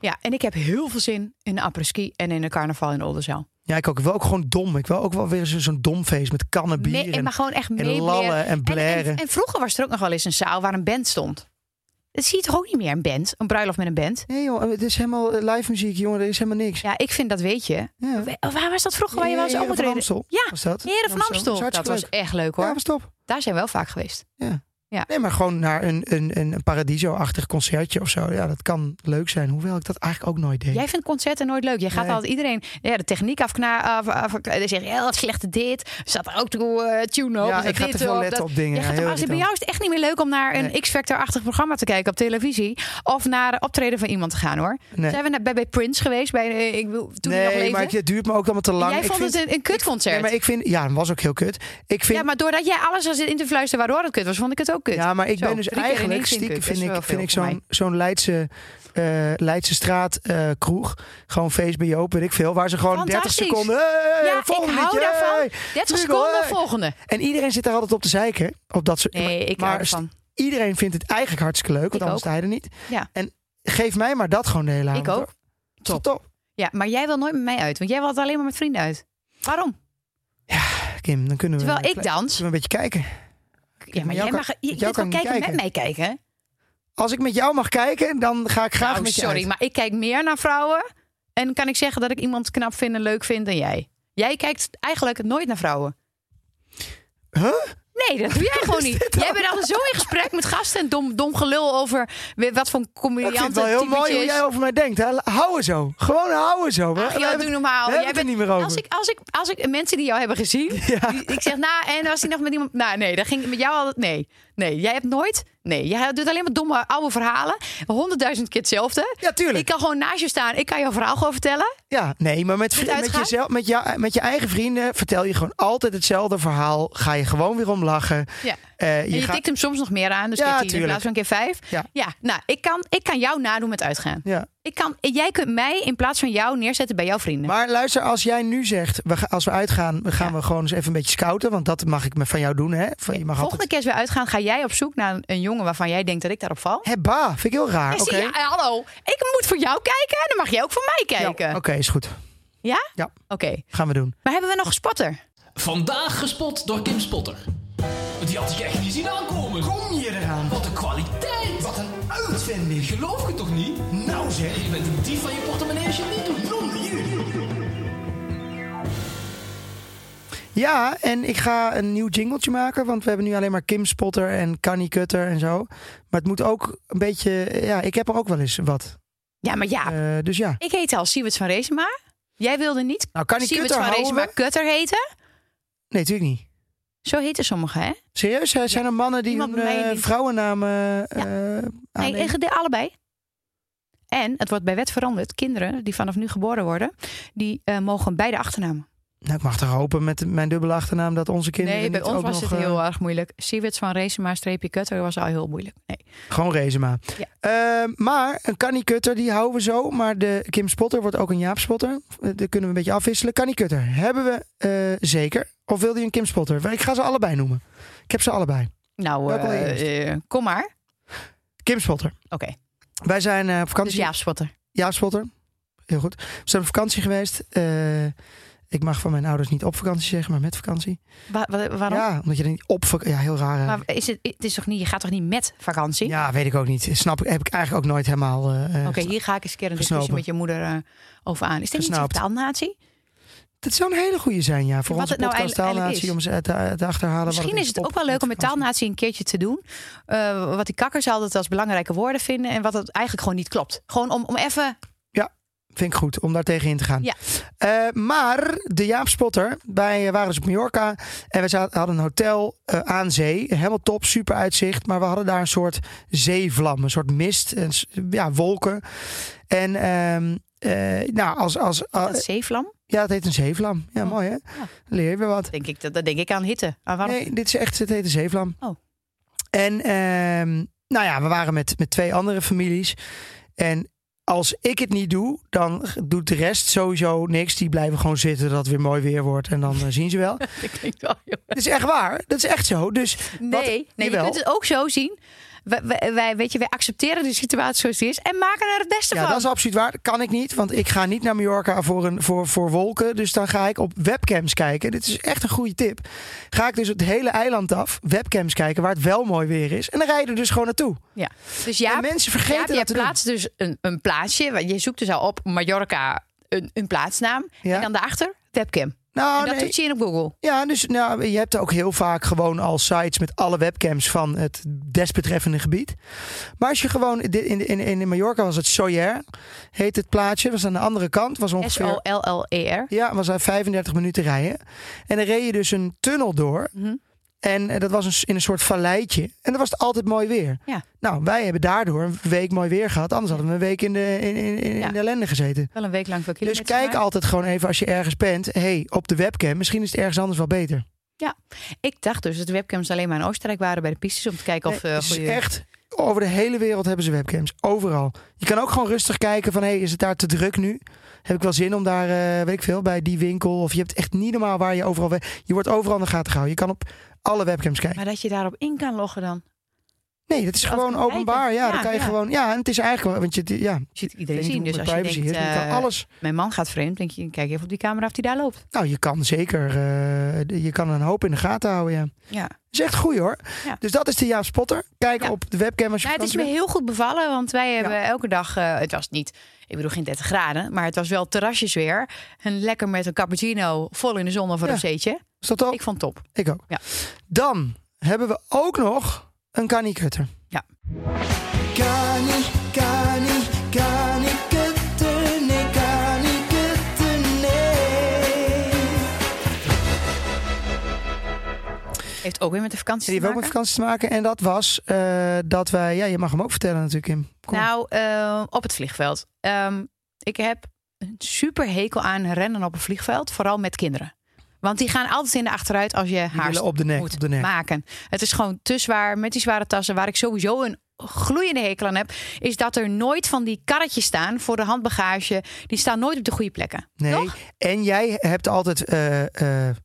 C: Ja, en ik heb heel veel zin in de apres-ski en in de carnaval in Oldenzaal.
A: Ja, ik ook. Ik wil ook gewoon dom. Ik wil ook wel weer zo- zo'n dom feest met kannen bier
C: Nee,
A: en,
C: maar gewoon echt
A: en
C: mee
A: lallen en
C: En,
A: blaren.
C: en vroeger was er ook nog wel eens een zaal waar een band stond. Dat zie je toch ook niet meer, een band? Een bruiloft met een band?
A: Nee joh, het is helemaal eh, live muziek, jongen. Er is helemaal niks.
C: Ja, ik vind dat weet je.
A: Ja.
C: We- oh, Waar was dat vroeger waar je
A: Ja,
C: was
A: Heren van
C: opgetreden?
A: Amstel
C: Ja,
A: was dat.
C: Heren van
A: Dat was
C: Amstel. Dat
A: hartstikke
C: was
A: leuk.
C: echt leuk hoor.
A: Ja, was top.
C: Daar zijn we wel vaak geweest.
A: Ja.
C: Ja.
A: Nee, maar gewoon naar een, een, een paradiso-achtig concertje of zo. Ja, dat kan leuk zijn. Hoewel ik dat eigenlijk ook nooit deed.
C: Jij vindt concerten nooit leuk. Jij gaat
A: Nee.
C: altijd iedereen ja, de techniek afkna... Af, af, dan zeg je, ja, wat slechte dit. Zat er ook toe eh tune op.
A: ja,
C: zat
A: ik ga
C: dit
A: te veel
C: op,
A: letten
C: dat-
A: op dingen.
C: Jij gaat
A: heel
C: er- als het bij
A: irritant.
C: jou is het echt niet meer leuk om naar een
A: Nee.
C: X-Factor-achtig programma te kijken op televisie. Of naar een optreden van iemand te gaan hoor.
A: Nee.
C: Zijn we naar, bij, bij Prince geweest? Bij, eh, ik, wil- toen hij nog
A: Nee,
C: leefde?
A: maar ik- het duurt me ook allemaal te lang.
C: Jij
A: ik
C: vond
A: vind,
C: het een, een kutconcert.
A: Nee, maar ik vind, ja, dat was ook heel kut. Ik vind,
C: Ja, maar doordat jij alles was in te fluisteren waardoor het kut was, vond ik het ook kut.
A: Ja, maar ik
C: Zo,
A: ben dus
C: drie keer in
A: eigenlijk
C: één zin
A: stiekem
C: kut. Dat
A: vind
C: is wel
A: ik, vind
C: veel
A: ik
C: voor
A: zo'n zo'n Leidse, eh, Leidse straat eh, kroeg. Gewoon feestbio, weet ik veel. Waar ze gewoon 30
C: Fantastisch.
A: seconden. Hey,
C: Ja,
A: volgende
C: ik hou
A: liedje, hey.
C: daarvan. 30
A: Jingle,
C: seconden,
A: hey.
C: volgende.
A: En iedereen zit daar altijd op te zeiken. Op dat soort,
C: Nee, ik hou
A: maar
C: ervan.
A: iedereen vindt het eigenlijk hartstikke leuk. Want
C: Ik
A: anders
C: ook.
A: sta je er niet.
C: Ja.
A: En geef mij maar dat gewoon de hele avond.
C: ook.
A: hoor. Is
C: Top.
A: dat Top.
C: Ja, maar jij wil nooit met mij uit, want jij wil altijd alleen maar met vrienden uit. Waarom?
A: Kim, dan kunnen we,
C: Terwijl ik
A: kunnen
C: dans.
A: we een beetje kijken.
C: Ja, maar
A: jou
C: jij mag,
A: kan-
C: je, je kan
A: jou kan ik niet
C: kijken, met
A: kijken.
C: mij kijken.
A: Als ik met jou mag kijken, dan ga ik graag
C: Oh,
A: met je
C: sorry,
A: uit.
C: maar ik kijk meer naar vrouwen. En kan ik zeggen dat ik iemand knap vind en leuk vind dan jij? Jij kijkt eigenlijk nooit naar vrouwen.
A: Huh?
C: Nee, dat doe [laughs] jij gewoon niet. Jij bent altijd zo in gesprek met gasten en dom, dom gelul over weer wat voor
A: Ik vind
C: comedianten
A: het wel heel mooi hoe jij over mij denkt. Hè? Houden zo. Gewoon houden zo. hè?
C: Ach,
A: We
C: joh,
A: hebben-
C: doe normaal.
A: we
C: Jij
A: hebben het er
C: bent-
A: niet meer over.
C: Als ik, als, ik, als ik mensen die jou hebben gezien,
A: [laughs]
C: die- ik zeg, nou, en was hij nog met iemand? Nou, nee, dat ging met jou altijd. Nee, nee, jij hebt nooit. Nee, jij doet alleen maar domme oude verhalen. Honderdduizend keer hetzelfde.
A: Ja, tuurlijk.
C: Ik kan gewoon naast je staan. Ik kan jouw verhaal gewoon vertellen.
A: Ja, nee, maar met, vri- met,
C: uitgaan?
A: jezelf, met, jou, met je eigen vrienden vertel je gewoon altijd hetzelfde verhaal. Ga je gewoon weer om lachen.
C: Ja.
A: Eh,
C: En je
A: gaat-
C: tikt hem soms nog meer aan. Dus
A: Ja,
C: keer tien in
A: tuurlijk.
C: plaats van keer vijf.
A: Ja.
C: nou, ik kan, ik kan jou nadoen met uitgaan.
A: ja.
C: Ik kan, jij kunt mij in plaats van jou neerzetten bij jouw vrienden.
A: Maar luister, als jij nu zegt, we ga- als we uitgaan, we gaan
C: Ja.
A: we gewoon eens even een beetje scouten. Want dat mag ik me van jou doen, hè? Van, je mag
C: Volgende
A: altijd...
C: keer als we uitgaan, ga jij op zoek naar een, een jongen waarvan jij denkt dat ik daarop val.
A: Hebba, vind ik heel raar.
C: Ja,
A: Ah, Oké,
C: zie je, eh, hallo, ik moet voor jou kijken en dan mag jij ook voor mij
A: Ja,
C: kijken.
A: oké, is goed.
C: Ja?
A: Ja.
C: Oké.
A: Gaan we doen.
C: Maar hebben we nog een spotter?
D: Vandaag gespot door Kim Spotter. Die had ik echt niet zien aankomen.
E: Kom je eraan?
D: Wat een kwaliteit!
E: Wat een uitvinding.
D: Geloof ik toch niet?
E: Nou zeg,
D: Je bent een dief van je portemonnee als je het niet doet.
E: blonde jullie.
A: Ja, en ik ga een nieuw jingletje maken. Want we hebben nu alleen maar Kim Spotter en Canny Cutter en zo. Maar het moet ook een beetje... Ja, ik heb er ook wel eens wat.
C: Ja, maar ja.
A: Eh, dus ja.
C: Ik heet al Siewert van Reesema. Jij wilde niet
A: Nou, Canny
C: Siewert
A: Cutter
C: van
A: houden
C: Reesema
A: we?
C: Kutter heten.
A: Nee, natuurlijk niet.
C: Zo heten sommigen, hè?
A: Serieus? hè? Zijn er mannen die
C: Iemand
A: hun
C: bij mij
A: eh,
C: niet.
A: vrouwennamen eh,
C: Nee,
A: aannemen?
C: ik- de- allebei. En het wordt bij wet veranderd. Kinderen die vanaf nu geboren worden, die eh, mogen beide achternamen.
A: Nou, ik mag toch hopen met mijn dubbele achternaam dat onze kinderen
C: nee, bij
A: niet
C: ons
A: ook
C: was
A: nog,
C: het
A: eh,
C: heel erg moeilijk. Siewert van Reesema streepje Kutter was al heel moeilijk. Nee.
A: Gewoon Rezema.
C: Ja.
A: Eh, maar een Canny Cutter, die houden we zo. Maar de Kim Spotter wordt ook een Jaap Spotter. Eh, Dat kunnen we een beetje afwisselen. Canny Cutter hebben we eh, zeker. Of wilde je een Kim Spotter? Ik ga ze allebei noemen. Ik heb ze allebei.
C: Nou,
A: Welke wil je
C: eh, eh, kom maar.
A: Kim Spotter.
C: Oké,
A: Wij zijn eh, op
C: dus
A: vakantie.
C: ja, spotter.
A: Jaap Spotter. Heel goed. We zijn op vakantie geweest. Eh, ik mag van mijn ouders niet op vakantie zeggen, maar met vakantie.
C: Wa- wa- waarom?
A: Ja, omdat je er niet op... vak- Ja, heel raar. hè?
C: Maar is het, het is toch niet, je gaat toch niet met vakantie?
A: Ja, weet ik ook niet. Snap ik, heb ik eigenlijk ook nooit helemaal. eh, eh,
C: Oké, hier ga ik eens een keer een discussie
A: Gesnopen.
C: met je moeder eh, over aan. Is dit niet zo'n
A: Gesnaapt.
C: taalnatie?
A: Dat zou een hele goede zijn, ja. Voor
C: Wat
A: onze
C: het nou
A: podcast
C: eigenlijk-
A: Taalnatie, om
C: eigenlijk
A: ze uit te, te achterhalen. wat
C: Misschien is het
A: op-
C: ook wel leuk om met
A: vakantie-
C: taalnatie een keertje te doen. Eh, wat die kakkers altijd als belangrijke woorden vinden en wat het eigenlijk gewoon niet klopt. Gewoon om, om even.
A: Vind ik goed, om daar tegen in te gaan.
C: Ja.
A: Eh, maar de Jaap Spotter, wij eh, waren dus op Mallorca. En we zaten, hadden een hotel eh, aan zee. Helemaal top, super uitzicht. Maar we hadden daar een soort zeevlam, een soort mist. Een, s- ja, wolken. En... ehm, eh, nou, als, als,
C: Dat zeevlam,
A: ja, het heet een zeevlam. Ja,
C: Oh.
A: mooi hè? Leer je wat.
C: denk ik. Dat, dat denk ik aan hitte. Aan warm-
A: Nee, dit is echt, het heet de Zeevlam.
C: Oh.
A: En ehm, nou ja, we waren met, met twee andere families. En als ik het niet doe, dan g- doet de rest sowieso niks. Die blijven gewoon zitten dat het weer mooi weer wordt. En dan eh, zien ze
C: [laughs]
A: wel.
C: Dat klinkt wel heel
A: Dat is echt waar. Dat is echt zo. Dus wat-
C: Nee, nee je
A: jawel.
C: kunt het ook zo zien. We- we- Wij, weet je, wij accepteren de situatie zoals die is en maken er het beste
A: Ja,
C: van.
A: dat is absoluut waar. Dat kan ik niet, want ik ga niet naar Mallorca voor, een, voor, voor wolken. Dus dan ga ik op webcams kijken. Dit is echt een goede tip. Ga ik dus het hele eiland af, webcams kijken, waar het wel mooi weer is. En dan rijden we dus gewoon naartoe.
C: Ja. Dus ja,
A: en mensen vergeten
C: Jaap,
A: dat te
C: jij
A: doen.
C: plaatst dus een, een plaatsje. want Je zoekt dus al op Mallorca een, een plaatsnaam.
A: Ja.
C: En dan daarachter webcam.
A: Nou,
C: en dat
A: nee.
C: toets je in op Google.
A: Ja, dus nou, je hebt ook heel vaak gewoon al sites met alle webcams van het desbetreffende gebied. Maar als je gewoon in, in, in Mallorca was het Soyer, heet het plaatsje, was aan de andere kant, was ongeveer.
C: S-O-L-L-E-R.
A: Ja, was aan 35 minuten rijden. En dan reed je dus een tunnel door.
C: Mhm.
A: En eh, dat was een, s- in een soort valleitje. En dan was het altijd mooi weer.
C: Ja.
A: Nou, wij hebben daardoor een week mooi weer gehad. Anders hadden we een week in de, in, in, in
C: Ja.
A: de ellende gezeten.
C: Wel een week lang veel
A: Dus
C: kilometers
A: kijk
C: gemaakt.
A: altijd gewoon even als je ergens bent. hey, op de webcam. Misschien is het ergens anders wel beter.
C: Ik dacht dus dat de webcams alleen maar in Oostenrijk waren bij de pistes. Om te kijken of...
A: Nee,
C: eh,
A: het is
C: goede-
A: echt over de hele wereld hebben ze webcams. Overal. Je kan ook gewoon rustig kijken van, hey, is het daar te druk nu? Heb ik wel zin om daar, eh, weet ik veel, bij die winkel? Of je hebt echt niet normaal waar je overal... we- Je wordt overal in de gaten gehouden. Je kan op alle webcams kijken.
C: Maar dat je daarop in kan loggen dan.
A: Nee, dat is
C: Altijd
A: gewoon
C: kijken.
A: openbaar. Ja,
C: Ja,
A: dan kan je
C: ja.
A: gewoon... Ja, en het is eigenlijk wel... Want je, ja,
C: Je ziet
A: ik weet
C: iedereen
A: niet
C: zien.
A: hoe
C: Dus
A: het
C: als je
A: privacy
C: denkt,
A: is, maar je kan
C: eh,
A: alles...
C: mijn man gaat vreemd. denk je, kijk even op die camera of die daar loopt.
A: Nou, je kan zeker... eh, de- je kan een hoop in de gaten houden, ja.
C: Ja.
A: is echt goed, hoor.
C: Ja.
A: Dus dat is de Jaap Spotter. Kijk
C: Ja.
A: op de webcam als je
C: Nou, het is
A: vakantie
C: me
A: bent.
C: heel goed bevallen, want wij hebben elke dag, eh, het was niet, ik bedoel geen 30 graden, maar het was wel terrasjes weer. En lekker met een cappuccino, vol in de zon of een
A: Ja.
C: rozeetje.
A: Is dat ook?
C: Ik vond het top.
A: Ik ook.
C: Ja.
A: Dan hebben we ook nog een kanikutter.
F: Kani, kani, kani kutten, nee, kani kutten, nee.
C: Heeft ook weer met de vakantie
A: Die heeft
C: te
A: ook met
C: maken.
A: vakantie te maken. En dat was eh, dat wij... Ja, je mag hem ook vertellen natuurlijk, Kim. Kom.
C: Nou, eh, op het vliegveld. Ehm, ik heb een super hekel aan rennen op een vliegveld, vooral met kinderen. Want die gaan altijd in de achteruit als je
A: Die
C: haar
A: willen op de nek,
C: moet
A: op de nek.
C: maken. Het is gewoon te zwaar met die zware tassen. Waar ik sowieso een gloeiende hekel aan heb, is dat er nooit van die karretjes staan voor de handbagage. Die staan nooit op de goede plekken.
A: nee.
C: toch?
A: En jij hebt altijd eh, eh,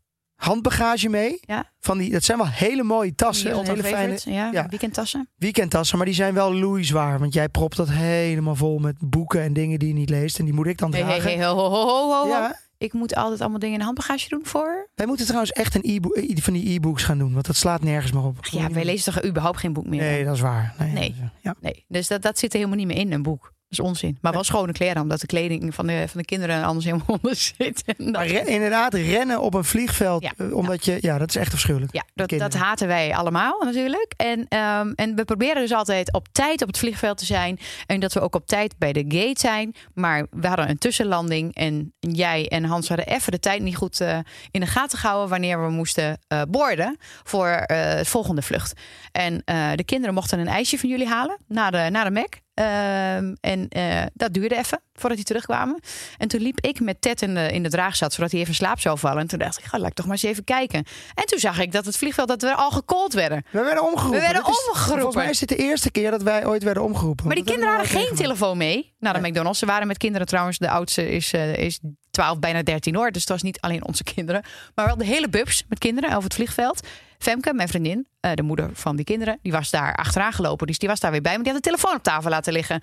A: handbagage mee.
C: Ja.
A: Van die, dat zijn wel hele mooie tassen.
C: Heel
A: Altijd hele fijne
C: favorite, ja,
A: ja.
C: weekendtassen.
A: weekendtassen. Maar die zijn wel loeizwaar. Want jij propt dat helemaal vol met boeken en dingen die je niet leest. En die moet ik dan
C: Hey, hey,
A: dragen.
C: hey, ho, ho, ho, ho, ho.
A: Ja,
C: Ik moet altijd allemaal dingen in de handbagage doen voor.
A: wij moeten trouwens echt een e-book, eh, van die e-books gaan doen. Want dat slaat nergens meer op.
C: Ja, wij lezen toch überhaupt geen boek meer.
A: Nee, dat is waar. Nee.
C: Nee.
A: Ja.
C: Nee, dus dat, dat zit er helemaal niet meer in, een boek. Dat is onzin. Maar wel schone kleren, omdat de kleding van de, van de kinderen anders helemaal [laughs] onder zit. En
A: Maar
C: dat-
A: re- inderdaad, rennen op een vliegveld.
C: Ja.
A: eh, Omdat je. Ja, dat is echt afschuwelijk.
C: ja, dat, dat
A: kinderen.
C: haten wij allemaal natuurlijk. En, ehm, en we proberen dus altijd op tijd op het vliegveld te zijn. En dat we ook op tijd bij de gate zijn. Maar we hadden een tussenlanding. En jij en Hans hadden even de tijd niet goed eh, in de gaten gehouden. wanneer we moesten eh boarden voor eh het volgende vlucht. En eh, de kinderen mochten een ijsje van jullie halen naar de, naar de Mac. Ehm, en eh, dat duurde even voordat die terugkwamen. En toen liep ik met Ted in de, in de draagzat, zodat hij even in slaap zou vallen. En toen dacht ik, ga laat ik toch maar eens even kijken. En toen zag ik dat het vliegveld dat we al gecallt werden.
A: We werden omgeroepen.
C: We werden
A: Dat is-
C: omgeroepen.
A: Volgens mij is dit de eerste keer dat wij ooit werden omgeroepen.
C: Maar die
A: Dat
C: kinderen hadden
A: hebben we nou
C: geen telefoon mee naar de McDonald's. Ze waren met kinderen trouwens. De oudste is, eh, is 12, bijna 13 hoor. Dus het was niet alleen onze kinderen. Maar wel de hele bubs met kinderen over het vliegveld. Femke, mijn vriendin, eh, de moeder van die kinderen, die was daar achteraan gelopen. Dus die was daar weer bij. Maar die had de telefoon op tafel laten liggen.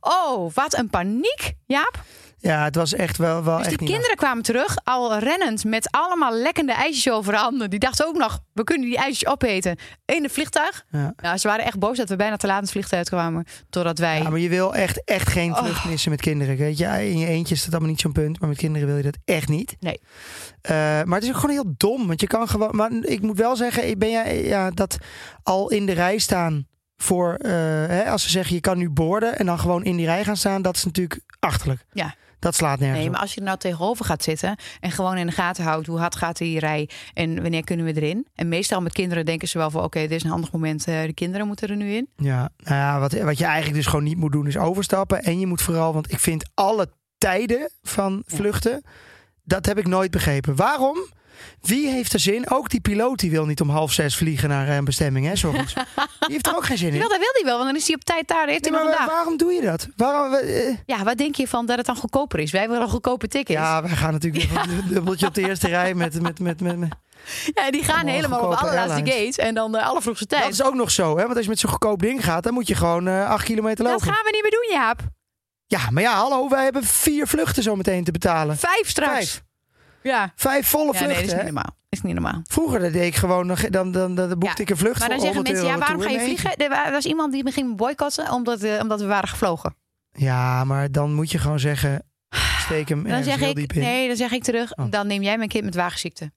C: Oh, wat een paniek, Jaap.
A: meegemaakt. Ja, het was echt wel. wel
C: Dus
A: echt
C: die
A: niet
C: kinderen kwamen terug, al rennend, met allemaal lekkende ijsjes over handen. Die dachten ook nog, we kunnen die ijsjes opeten in het vliegtuig.
A: Ja.
C: Nou, ze waren echt boos dat we bijna te laat in het vliegtuig kwamen. Doordat wij...
A: leuk. Ja, maar je wil echt, echt geen vlucht
C: Oh.
A: missen met kinderen. Weet je, in je eentje is dat allemaal niet zo'n punt. Maar met kinderen wil je dat echt niet.
C: Nee.
A: Eh, maar het is ook gewoon heel dom. Want je kan gewoon. Maar ik moet wel zeggen, ik ben jij ja, dat al in de rij staan voor. eh, hè, als ze zeggen je kan nu boorden en dan gewoon in die rij gaan staan, dat is natuurlijk achterlijk.
C: Ja.
A: Dat slaat nergens
C: Nee,
A: op.
C: maar als je er nou tegenover gaat zitten en gewoon in de gaten houdt hoe hard gaat die rij en wanneer kunnen we erin? En meestal met kinderen denken ze wel van oké, dit is een handig moment, eh, de kinderen moeten er nu in.
A: Ja, nou ja, wat, wat je eigenlijk dus gewoon niet moet doen is overstappen. En je moet vooral, want ik vind alle tijden van vluchten, dat heb ik nooit begrepen. Waarom? Wie heeft er zin? Ook die piloot die wil niet om half zes vliegen naar eh, een bestemming,
C: [laughs]
A: hè, soms. Die heeft er ook geen zin in.
C: Wel, dat wil hij wel, want dan is hij op tijd daar, heeft hij
A: Nee, maar
C: nog een
A: wa-
C: dag.
A: waarom doe je dat? Waarom, eh,
C: Ja, wat denk je van dat het dan goedkoper is? Wij willen een goedkope tickets. [laughs] Ja,
A: ja, wij gaan natuurlijk weer een dubbeltje op de eerste rij met... met, met, met, met.
C: die gaan helemaal
A: allemaal
C: op de
A: goedkope
C: allerlaatste
A: airlines.
C: gates en dan de allervroegste tijd.
A: Dat is ook nog zo, hè? Want als je met zo'n goedkoop ding gaat, dan moet je gewoon eh, acht kilometer
C: Dat
A: lopen.
C: gaan we niet meer doen, Jaap.
A: Ja, maar ja, hallo, wij hebben vier vluchten zo meteen te betalen.
C: Vijf straks.
A: Vijf.
C: Ja.
A: Vijf volle
C: ja,
A: vluchten,
C: nee, dus dat is
A: hè?
C: niet normaal. Dat is niet normaal.
A: Vroeger dat deed ik gewoon, dan, dan, dan, dan boekte
C: Ja,
A: ik een vlucht
C: Maar dan
A: voor
C: zeggen
A: 100
C: mensen, ja,
A: euro
C: waarom ga
A: naartoe
C: je
A: in
C: vliegen? Er wa- was iemand die me ging boycotten omdat, eh, omdat we waren gevlogen.
A: één keer. Ja, maar dan moet je gewoon zeggen, steek hem
C: [sighs] Dan
A: ergens
C: zeg
A: heel
C: ik,
A: diep in. Oh.
C: nee, dan zeg ik terug, dan neem jij mijn kind met wagenziekte.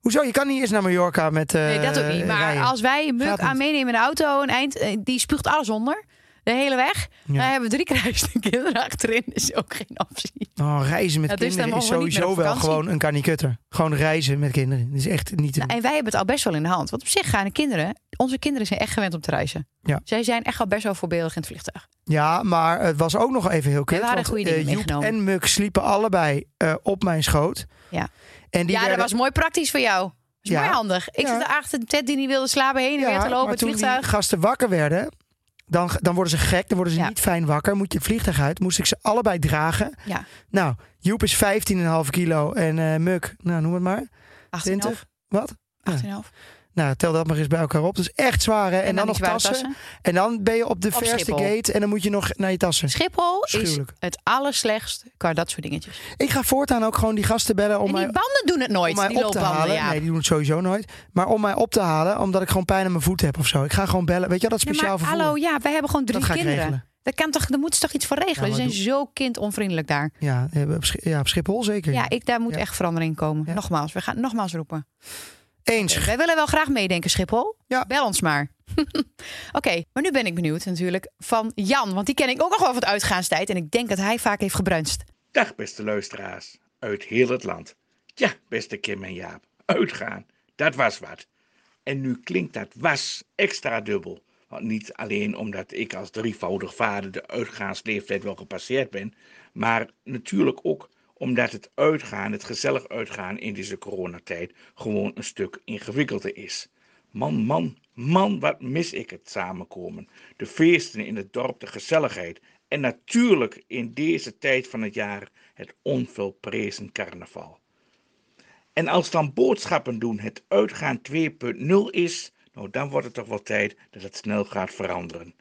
A: Hoezo? Je kan niet eens naar Mallorca met eh
C: Nee, dat ook niet. Maar
A: rijden.
C: als wij Muk
A: Gaat
C: aan
A: niet.
C: meenemen in de auto, een eind, eh, die spuugt alles onder. De hele weg.
A: Ja.
C: Dan hebben we drie [laughs] kruisende kinderen achterin. is ook geen optie.
A: Oh, reizen met
C: Ja, dus dan
A: kinderen is
C: mogen we niet meer
A: sowieso
C: op
A: wel
C: vakantie.
A: gewoon een kanikutter. Gewoon reizen met kinderen. Dat is echt niet te doen.
C: En wij hebben het al best wel in de hand. Want op zich gaan de kinderen... Onze kinderen zijn echt gewend om te reizen.
A: Ja.
C: Zij zijn echt al best wel voorbeeldig in het vliegtuig.
A: Ja, maar het was ook nog even heel kut.
C: waren
A: want,
C: goede dingen
A: eh, Joep
C: meegenomen.
A: en Muk sliepen allebei eh, op mijn schoot.
C: Ja.
A: En die
C: ja,
A: werden-
C: dat was mooi praktisch voor jou. Dat is
A: Ja.
C: mooi handig. Ik
A: Ja.
C: zat erachter, Ted die niet wilde slapen, heen en
A: Ja,
C: weer te
A: maar
C: lopen, het
A: toen
C: vliegtuig.
A: die gasten wakker werden, dan, dan worden ze gek. Dan worden ze
C: Ja.
A: niet fijn wakker. Moet je het vliegtuig uit. Moest ik ze allebei dragen.
C: Ja,
A: Nou, Joep is 15,5 kilo en eh, Muk, nou noem het maar,
C: 18,5.
A: 20. Wat?
C: 18,5.
A: Nou, tel dat maar eens bij elkaar op. Dat is echt zwaar, hè? En, dan,
C: die
A: nog
C: zware
A: tassen. En dan ben je op de
C: Op
A: verste
C: Schiphol.
A: gate en dan moet je nog naar je tassen.
C: Schiphol is
A: Schuwelijk.
C: het allerslechtst qua dat soort dingetjes.
A: Ik ga voortaan ook gewoon die gasten bellen om
C: en
A: mij
C: die banden doen het nooit,
A: om mij
C: die
A: op te
C: loopbanden.
A: halen.
C: Ja.
A: Nee, die doen het sowieso nooit. Maar om mij op te halen, omdat ik gewoon pijn aan mijn voet heb of zo. Ik ga gewoon bellen. Weet je wel, dat
C: Nee,
A: speciaal
C: maar
A: vervoer.
C: hallo, ja, wij hebben gewoon
A: Dat
C: drie
A: ga ik
C: kinderen.
A: regelen.
C: Daar, kan toch, daar moeten ze toch iets voor regelen?
A: Ja,
C: Ze
A: maar
C: zijn zo kindonvriendelijk daar.
A: Ja, eh, op Sch- ja, op Schiphol zeker.
C: Ja, ik, daar moet
A: Ja.
C: echt verandering in komen.
A: Ja.
C: Nogmaals, we gaan het nogmaals roepen.
A: Eens.
C: Wij willen wel graag meedenken, Schiphol.
A: Ja.
C: Bel ons maar. [laughs] Oké, maar nu ben ik benieuwd natuurlijk van Jan. Want die ken ik ook nog wel van het uitgaanstijd. En ik denk dat hij vaak heeft gebruinst.
G: Dag beste luisteraars uit heel het land. Ja, beste Kim en Jaap, uitgaan, dat was wat. En nu klinkt dat was extra dubbel. Want niet alleen omdat ik als drievoudig vader de uitgaansleeftijd wel gepasseerd ben, maar natuurlijk ook omdat het uitgaan, het gezellig uitgaan in deze coronatijd gewoon een stuk ingewikkelder is. Man, man, man, wat mis ik het samenkomen. De feesten in het dorp, de gezelligheid. En natuurlijk in deze tijd van het jaar het onvolprezen carnaval. En als dan boodschappen doen het uitgaan 2.0 is, nou dan wordt het toch wel tijd dat het snel gaat veranderen.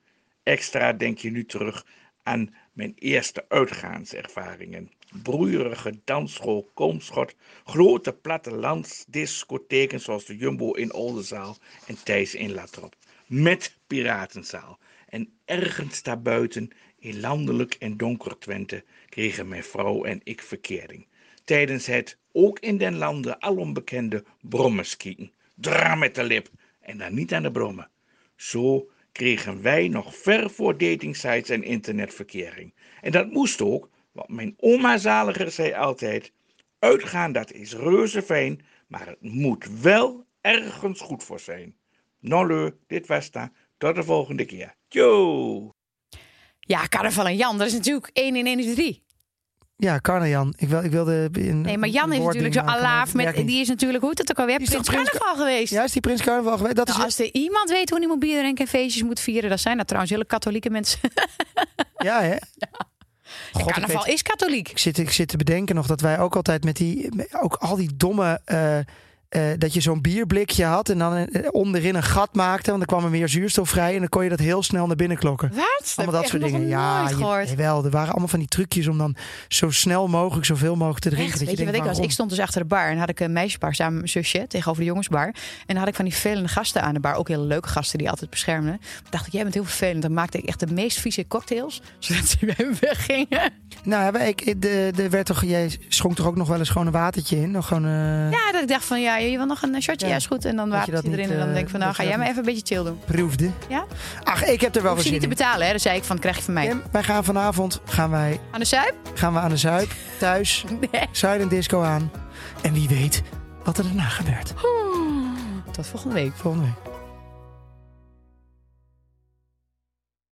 G: Extra denk je nu terug aan mijn eerste uitgaanservaringen. Broeierige dansschool Koomschot, grote plattelandsdiscotheken zoals de Jumbo in Oldenzaal en Thijs in Latrop. Met Piratenzaal. En ergens daarbuiten, in landelijk en donker Twente, kregen mijn vrouw en ik verkering. Tijdens het, ook in den landen alom bekende, brommerskieten. Dra met de lip en dan niet aan de brommen. Zo kregen wij nog ver voor datingsites en internetverkering. En dat moest ook, want mijn oma zaliger zei altijd: uitgaan dat is reuze fijn, maar het moet wel ergens goed voor zijn. Nou leu, dit was het. dan. Tot de volgende keer. Tjoe!
C: Ja, Carnaval en Jan, dat is natuurlijk één in één is drie.
A: Ja, Carne Jan. Ik, wil, ik wilde een,
C: Nee, maar Jan
A: een
C: is
A: woordding
C: natuurlijk zo
A: maken, maar
C: alaaf.
A: dat werkt
C: Met,
A: niet.
C: die is natuurlijk, hoe heet dat ook alweer,
A: Die is toch
C: Prins Carnaval geweest.
A: Ja, is die Prins Carnaval geweest? Dat
C: Nou,
A: is
C: als er iemand weet hoe niemand bierrenk en feestjes moet vieren, dat zijn dat trouwens hele katholieke mensen.
A: Ja,
C: [laughs]
A: hè? God, ik,
C: Carnaval
A: weet-
C: is katholiek.
A: ik zit, ik zit te bedenken nog dat wij ook altijd met die... met Ook al die domme... eh, eh, dat je zo'n bierblikje had en dan eh, onderin een gat maakte. Want dan kwam er meer zuurstof vrij. En dan kon je dat heel snel naar binnen klokken.
C: Wat?
A: Allemaal dat soort dingen.
C: Ja,
A: Ja,
C: nooit gehoord.
A: je, wel. Er waren allemaal van die trucjes om dan zo snel mogelijk zoveel mogelijk te drinken.
C: Echt,
A: dat
C: weet je wat ik was? Ik
A: denkt, waarom?
C: stond dus achter de bar en had ik een meisjesbar samen met mijn zusje tegenover de jongensbar. En dan had ik van die vervelende gasten aan de bar, ook hele leuke gasten die altijd beschermden. Dan dacht ik, jij bent heel vervelend. Dan maakte ik echt de meest vieze cocktails, [laughs] zodat ze bij me weggingen.
A: Nou, ja, ik, ik- de, de werd toch, jij schonk toch ook nog wel eens gewoon een watertje in? Nog gewoon, eh,
C: Ja, dat ik dacht van, ja, je wil nog een eh, shotje?
A: Ja.
C: Ja, is goed. En dan
A: Dat je
C: wapent
A: dat
C: hij erin
A: niet,
C: en dan
A: eh,
C: denk ik van, nou
A: dat je
C: ga jij
A: dat
C: maar even een beetje chill doen.
A: proefde.
C: Ja?
A: Ach, ik heb er wel
C: Hoef
A: voor
C: je niet
A: zin
C: te
A: in.
C: betalen, hè? Dan zei ik van, krijg je van mij.
A: Kim, wij gaan vanavond gaan wij,
C: Aan de zuip?
A: gaan we aan de Zuip, thuis,
C: [laughs] Nee.
A: Zuid Disco aan. En wie weet wat er daarna gebeurt.
C: Tot volgende week.
A: Volgende week.